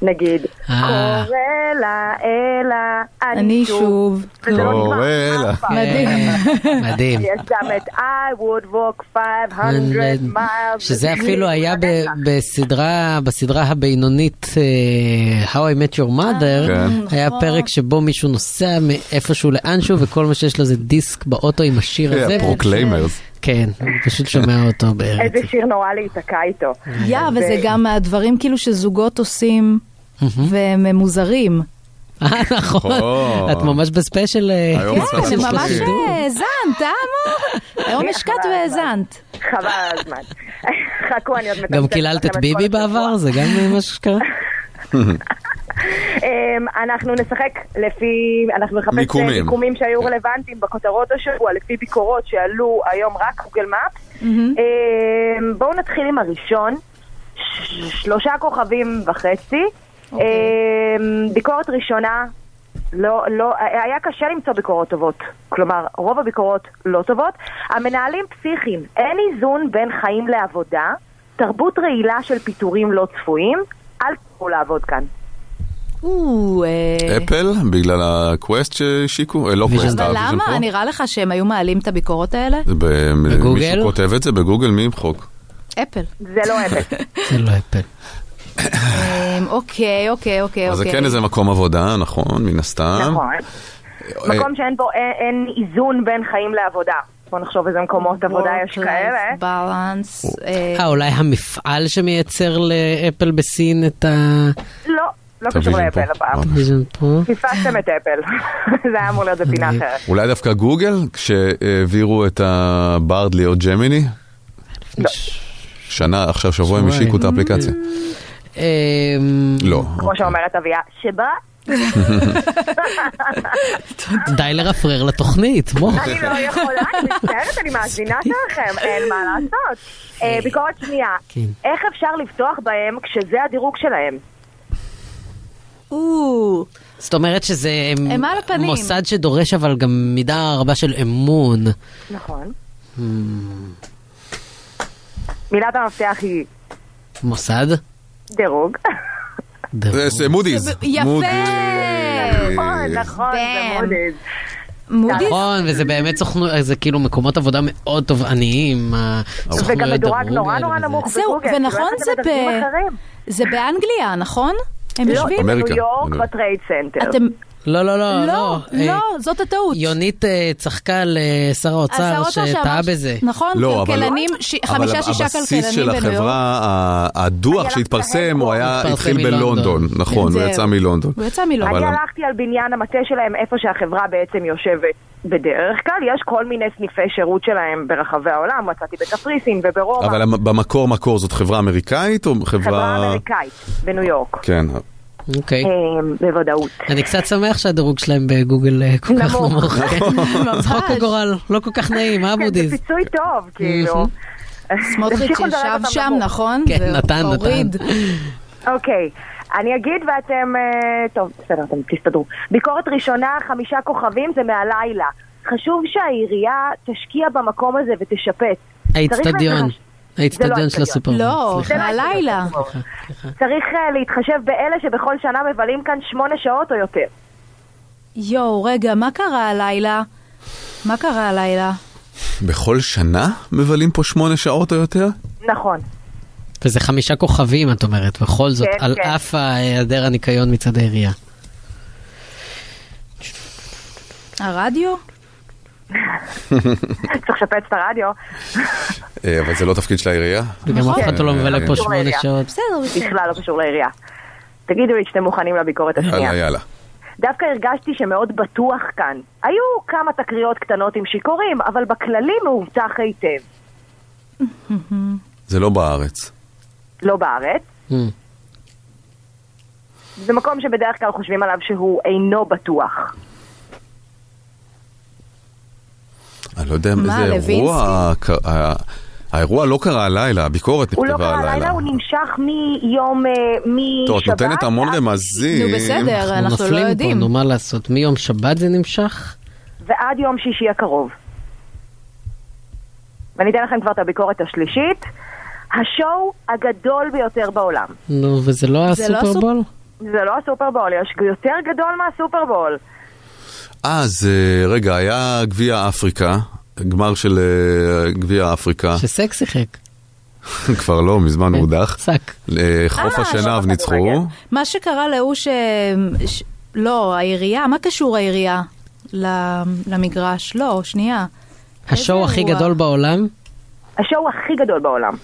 נגיד, אה. קורא לה, אלה, אני אני שוב. שוב. וזה לא נגמר. מדהים. מדהים. יש גם את I would walk 500 miles. שזה אפילו היה ב- בסדרה, בסדרה הבינונית אה, How I Met Your Mother, כן. היה פרק שבו מישהו נוסע מאיפשהו לאנשהו וכל מה שיש לו זה דיסק באוטו עם השיר כן, הזה. Proclaimers. כן, אני פשוט שומע אותו בערך. איזה שיר נורא להיתקע איתו. יא, כן. אבל זה גם מהדברים כאילו שזוגות עושים, והם מוזרים. אה, נכון. את ממש בספיישל... כן, זה ממש האזנת, אה, מור? היום השקעת והאזנת. חבל על הזמן. חכו, אני עוד מתקצת. גם קיללת את ביבי בעבר? זה גם מה שקרה? אמ, אנחנו נשחק לפי, אנחנו נחפש אה, מיקומים. מיקומים שהיו רלוונטיים בכותרות השבוע, לפי ביקורות שעלו היום רק גוגל מאפ. אמ, בואו נתחיל עם הראשון, ש- שלושה כוכבים וחצי. אמ, ביקורת ראשונה, לא, לא, היה קשה למצוא ביקורות טובות. כלומר, רוב הביקורות לא טובות. המנהלים פסיכיים, אין איזון בין חיים לעבודה, תרבות רעילה של פיטורים לא צפויים, אל תוכלו לעבוד כאן. או, אה, אפל, בגלל הקווסט שהשיקו? אה, לא קווסט, אבל הוויז'ן פרו. למה? נראה לך שהם היו מעלים את הביקורות האלה? זה ב- בגוגל? מישהו כותב את זה בגוגל, מי ימחוק? אפל. זה לא אפל. זה לא אפל. אוקיי, אוקיי, אוקיי. אז זה אוקיי. כן איזה מקום עבודה, נכון, מן הסתם. נכון. אה, מקום שאין בו, אין, אין איזון בין חיים לעבודה. בוא נחשוב איזה מקומות עבודה יש כאלה. בלנס. אה, אולי המפעל שמייצר לאפל בסין את ה... לא, לא קשור הוויז'ן לאפל פה. הפעם. הוויז'ן פה. פספסתם את אפל. זה היה אמור להיות בפינה אחרת. אה, אולי דווקא גוגל, כשהעבירו את הברד להיות ג'מיני? שנה, עכשיו שבוע הם השיקו את האפליקציה. אמ, לא. כמו שאומרת אביה, שבה די לרפרר לתוכנית, מור. אני לא אוקיי. יכולה, אני מצטערת, אני מאזינה שלכם, אין מה לעשות. אה, ביקורת שנייה, כן. איך אפשר לבטוח בהם כשזה הדירוג שלהם? או, זאת אומרת שזה אמ, הם על הפנים. מוסד שדורש אבל גם מידה רבה של אמון. Hmm, נכון. אמ, מילת המפתח היא מוסד? דירוג. זה- זה מודי'ס. יפה! מודי'ס. נכון, נכון, זה מודי'ס. מודי'ס? נכון, וזה באמת סוכנות, זה כאילו מקומות עבודה מאוד תובעניים. הסוכנויות וגם מדורג דירוג נורא האלה נורא וזה. נמוך זהו, בגוגל. ונכון כאילו, זה איך אתם מדרגים ב- אחרים? זה באנגליה, נכון? הם לא, יושבים? בניו אמריקה, יורק בניו יורק. בטרייד סנטר. אתם... לא, לא, לא, לא, אה, לא, זאת הטעות. יונית אה, צחקה על אה, שר השר האוצר אוטו שטעה שאמר- בזה. נכון, לא, אבל- כלכלנים, ש- אבל חמישה-שישה הבסיס כלכלנים של בניו יורק. החברה, ה- הדוח שהתפרסם, הוא היה, התפרסם התחיל מלונדון. בלונדון, נכון, הוא זהו. יצא מלונדון. הוא יצא מלונדון. אבל אני המ- הלכתי על בניין המטה שלהם, איפה שהחברה בעצם יושבת. בדרך כלל יש כל מיני סניפי שירות שלהם ברחבי העולם, מצאתי בקפריסין וברומא. אבל המ- במקור מקור זאת חברה אמריקאית או חברה... חברה אמריקאית בניו יורק, כן. אוקיי. אמ, בוודאות. אני קצת שמח שהדירוג שלהם בגוגל אה, כל כך נמוך. נמוך. כן. ממש. צחוק הגורל, לא כל כך נעים, כן, אה זה מודי'ס? פיצוי טוב, כאילו. סמוטריץ' תמשיכו לדרג ישב אותם שם, נמוך. נכון? כן, והוא נתן, נתן. הוריד. אוקיי, אני אגיד ואתם... אה, טוב, בסדר, אתם תסתדרו. ביקורת ראשונה, חמישה כוכבים, זה מהלילה. חשוב שהעירייה תשקיע במקום הזה ותשפץ. האיצטדיון. צריך זה לא האיצטדיון של האיצטדיון. הסופרמן. לא, סליחה. מהלילה. צריך אה, להתחשב באלה שבכל שנה מבלים כאן שמונה שעות או יותר. יואו, רגע, מה קרה הלילה? מה קרה הלילה? בכל שנה מבלים פה שמונה שעות או יותר? נכון. וזה חמישה כוכבים, את אומרת, בכל זאת, כן, על כן. אף היעדר הניקיון מצד העירייה. הרדיו? צריך לשפץ את הרדיו. אה, אבל זה לא תפקיד של העירייה. כן. אה, וגם אף אחד לא מבלה פה קשור שמונה לעירייה. שעות. בסדר, בסדר. בכלל לא קשור לעירייה. תגידו לי שאתם מוכנים לביקורת השנייה. יאללה, יאללה. דווקא הרגשתי שמאוד בטוח כאן. היו כמה תקריות קטנות עם שיכורים, אבל בכללי מאובטח היטב. זה לא בארץ. לא בארץ. Mm. זה מקום שבדרך כלל חושבים עליו שהוא אינו בטוח. אני לא יודע מה, איזה אירוע... ק- ה- האירוע לא קרה הלילה, הביקורת הוא לא נכתבה קרא הלילה. לילה, הוא נמשך מיום, אה, משבת. טוב, את נותנת המון עד- למאזין. נו, בסדר. אנחנו לא אה, נופלים פה, יודעים. נו, מה לעשות? מיום שבת זה נמשך? ועד יום שישי הקרוב. ואני אתן לכם כבר את הביקורת השלישית. השואו הגדול ביותר בעולם. נו, וזה לא זה לא הסופרבול? זה לא הסופרבול, יש יותר גדול מהסופרבול. אז אה, רגע, היה גביע אפריקה, גמר של אה, גביע אפריקה, שסק שיחק. כן, כבר לא, מזמן הודח. שק. אה, חוף השנהב ניצחו. מה שקרה להוא ש... ש... לא, העירייה, מה קשור העירייה ל- למגרש? לא, שנייה. השואו הכי גדול בעולם? השואו הכי גדול בעולם.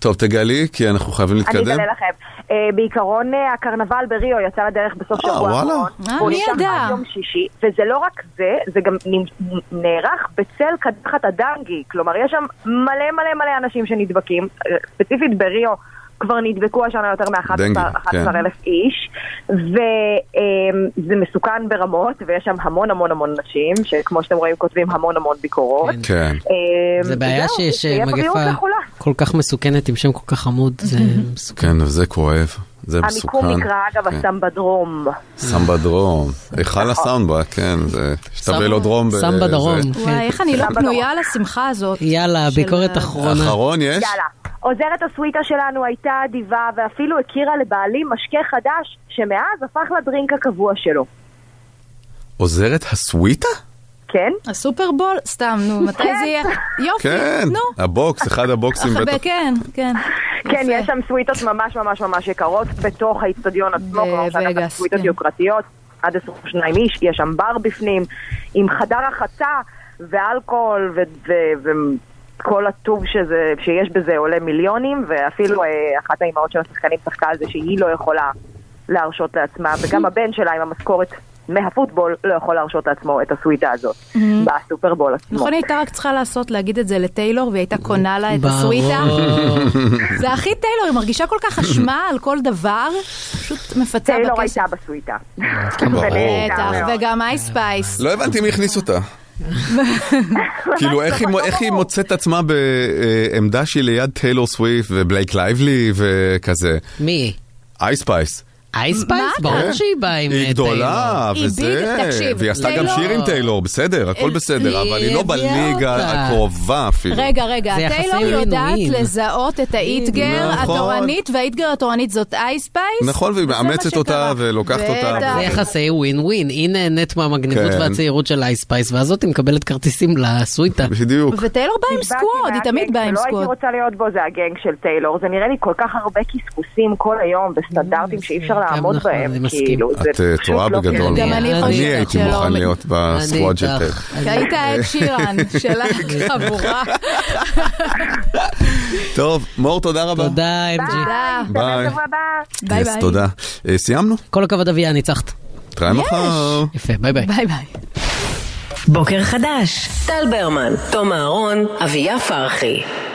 טוב, תגלי, כי אנחנו חייבים אני להתקדם. אגלה לכם. אה, בעיקרון אה, הקרנבל בריו יצא לדרך בסוף אה, שבוע וואלה. האחרון. אה, והוא מי נמשך ידע? עד יום שישי, וזה לא רק זה, זה גם נ- נערך בצל קדחת הדנגי. כלומר, יש שם מלא מלא מלא אנשים שנדבקים. אה, ספציפית בריו כבר נדבקו השנה יותר דנגי, מ-11,000 כן. איש, וזה מסוכן ברמות, ויש שם המון המון המון נשים, שכמו שאתם רואים כותבים המון המון ביקורות. כן. אה, זה בעיה וזהו, שיש שיהיה בריאות מגפה לכולם. כל כך מסוכנת עם שם כל כך חמוד, זה מסוכן. כן, וזה כואב, זה מסוכן. המיקום נקרא אגב כן. הסמבה דרום. סמבה דרום. היכל הסמבה, כן, זה... שתבל עוד דרום. ב- סמבה זה- דרום. נכון. כן. וואי, איך אני לא פנויה לשמחה הזאת. יאללה, אה, הביקורת אחרונה. אחרון יש? יאללה. עוזרת הסוויטה שלנו הייתה אדיבה ואפילו הכירה לבעלי משקה חדש שמאז הפך לדרינק הקבוע שלו. עוזרת הסוויטה? כן? הסופרבול? סתם, נו, מתי זה יהיה? יופי, כן, נו. הבוקס, אחד הבוקסים אך, בטח. כן, כן. כן, יש שם סוויטות ממש ממש ממש יקרות בתוך האיצטדיון עצמו, כלומר שאנחנו כן. סוויטות יוקרתיות, עד 22 איש, יש שם בר בפנים, עם חדר רחצה ואלכוהול ו- ו- וכל הטוב שזה, שיש בזה עולה מיליונים, ואפילו אה, אחת האימהות של השחקנים צחקה על זה שהיא לא יכולה להרשות לעצמה, וגם הבן שלה עם המשכורת מהפוטבול לא יכול להרשות לעצמו את הסוויטה הזאת בסופרבול עצמו. Mm-hmm. נכון, היא הייתה רק צריכה לעשות, להגיד את זה לטיילור, והיא הייתה קונה לה את ברור. הסוויטה. זה הכי טיילור, היא מרגישה כל כך אשמה על כל דבר, פשוט מפצה בכסף. טיילור הייתה בסוויטה. כן, ברור. בטח, וגם אייספייס. לא הבנתי מי הכניס אותה. כאילו, איך היא- איך היא מוצאת את עצמה בעמדה שהיא ליד טיילור סוויפט ובלייק לייבלי וכזה? מי? אייספייס. אייספייס? מה? ברור שהיא באה עם היא אה, גדולה, היא וזה, ביג, תקשיב, והיא עשתה גם לא- טיילור- שיר עם טיילור, בסדר, הכל אל- בסדר, אבל היא לא הביאה בליגה אותה. הקרובה אפילו. רגע, רגע, זה טיילור יחסים יודעת עינויים. לזהות את האיטגר נכון. התורנית, והאיטגר התורנית זאת אייספייס. נכון, והיא מאמצת אותה ולוקחת אותה. בטח. זה יחסי ווין ווין, היא נהנית מהמגניבות כן. והצעירות של אייספייס, והזאת היא מקבלת כרטיסים לסוויטה. בדיוק. וטיילור בא עם סקווד, היא תמיד באה עם לא סקווד. הייתי רוצה להיות בו, זה הגנג של טיילור. זה נראה לי כל כך הרבה קשקושים כל היום בסטנדרטים שאי כן, אפשר לעמוד נכון, אני בהם, מסכים. כאילו. זה את אה, פשוט טועה לא בגדול. הגיוני. גם אני אני חושבת הייתי שלא מוכן מ- להיות בסקוואד של טק. כי היית עד שירן של החבורה. טוב, מור, תודה רבה. תודה, MG. ביי. ביי, יס, ביי. תודה. אה, סיימנו? כל הכבוד אביה, ניצחת. נתראה מחר. יפה, ביי ביי. ביי ביי. בוקר חדש, טל ברמן, תום אהרון, אביה פרחי.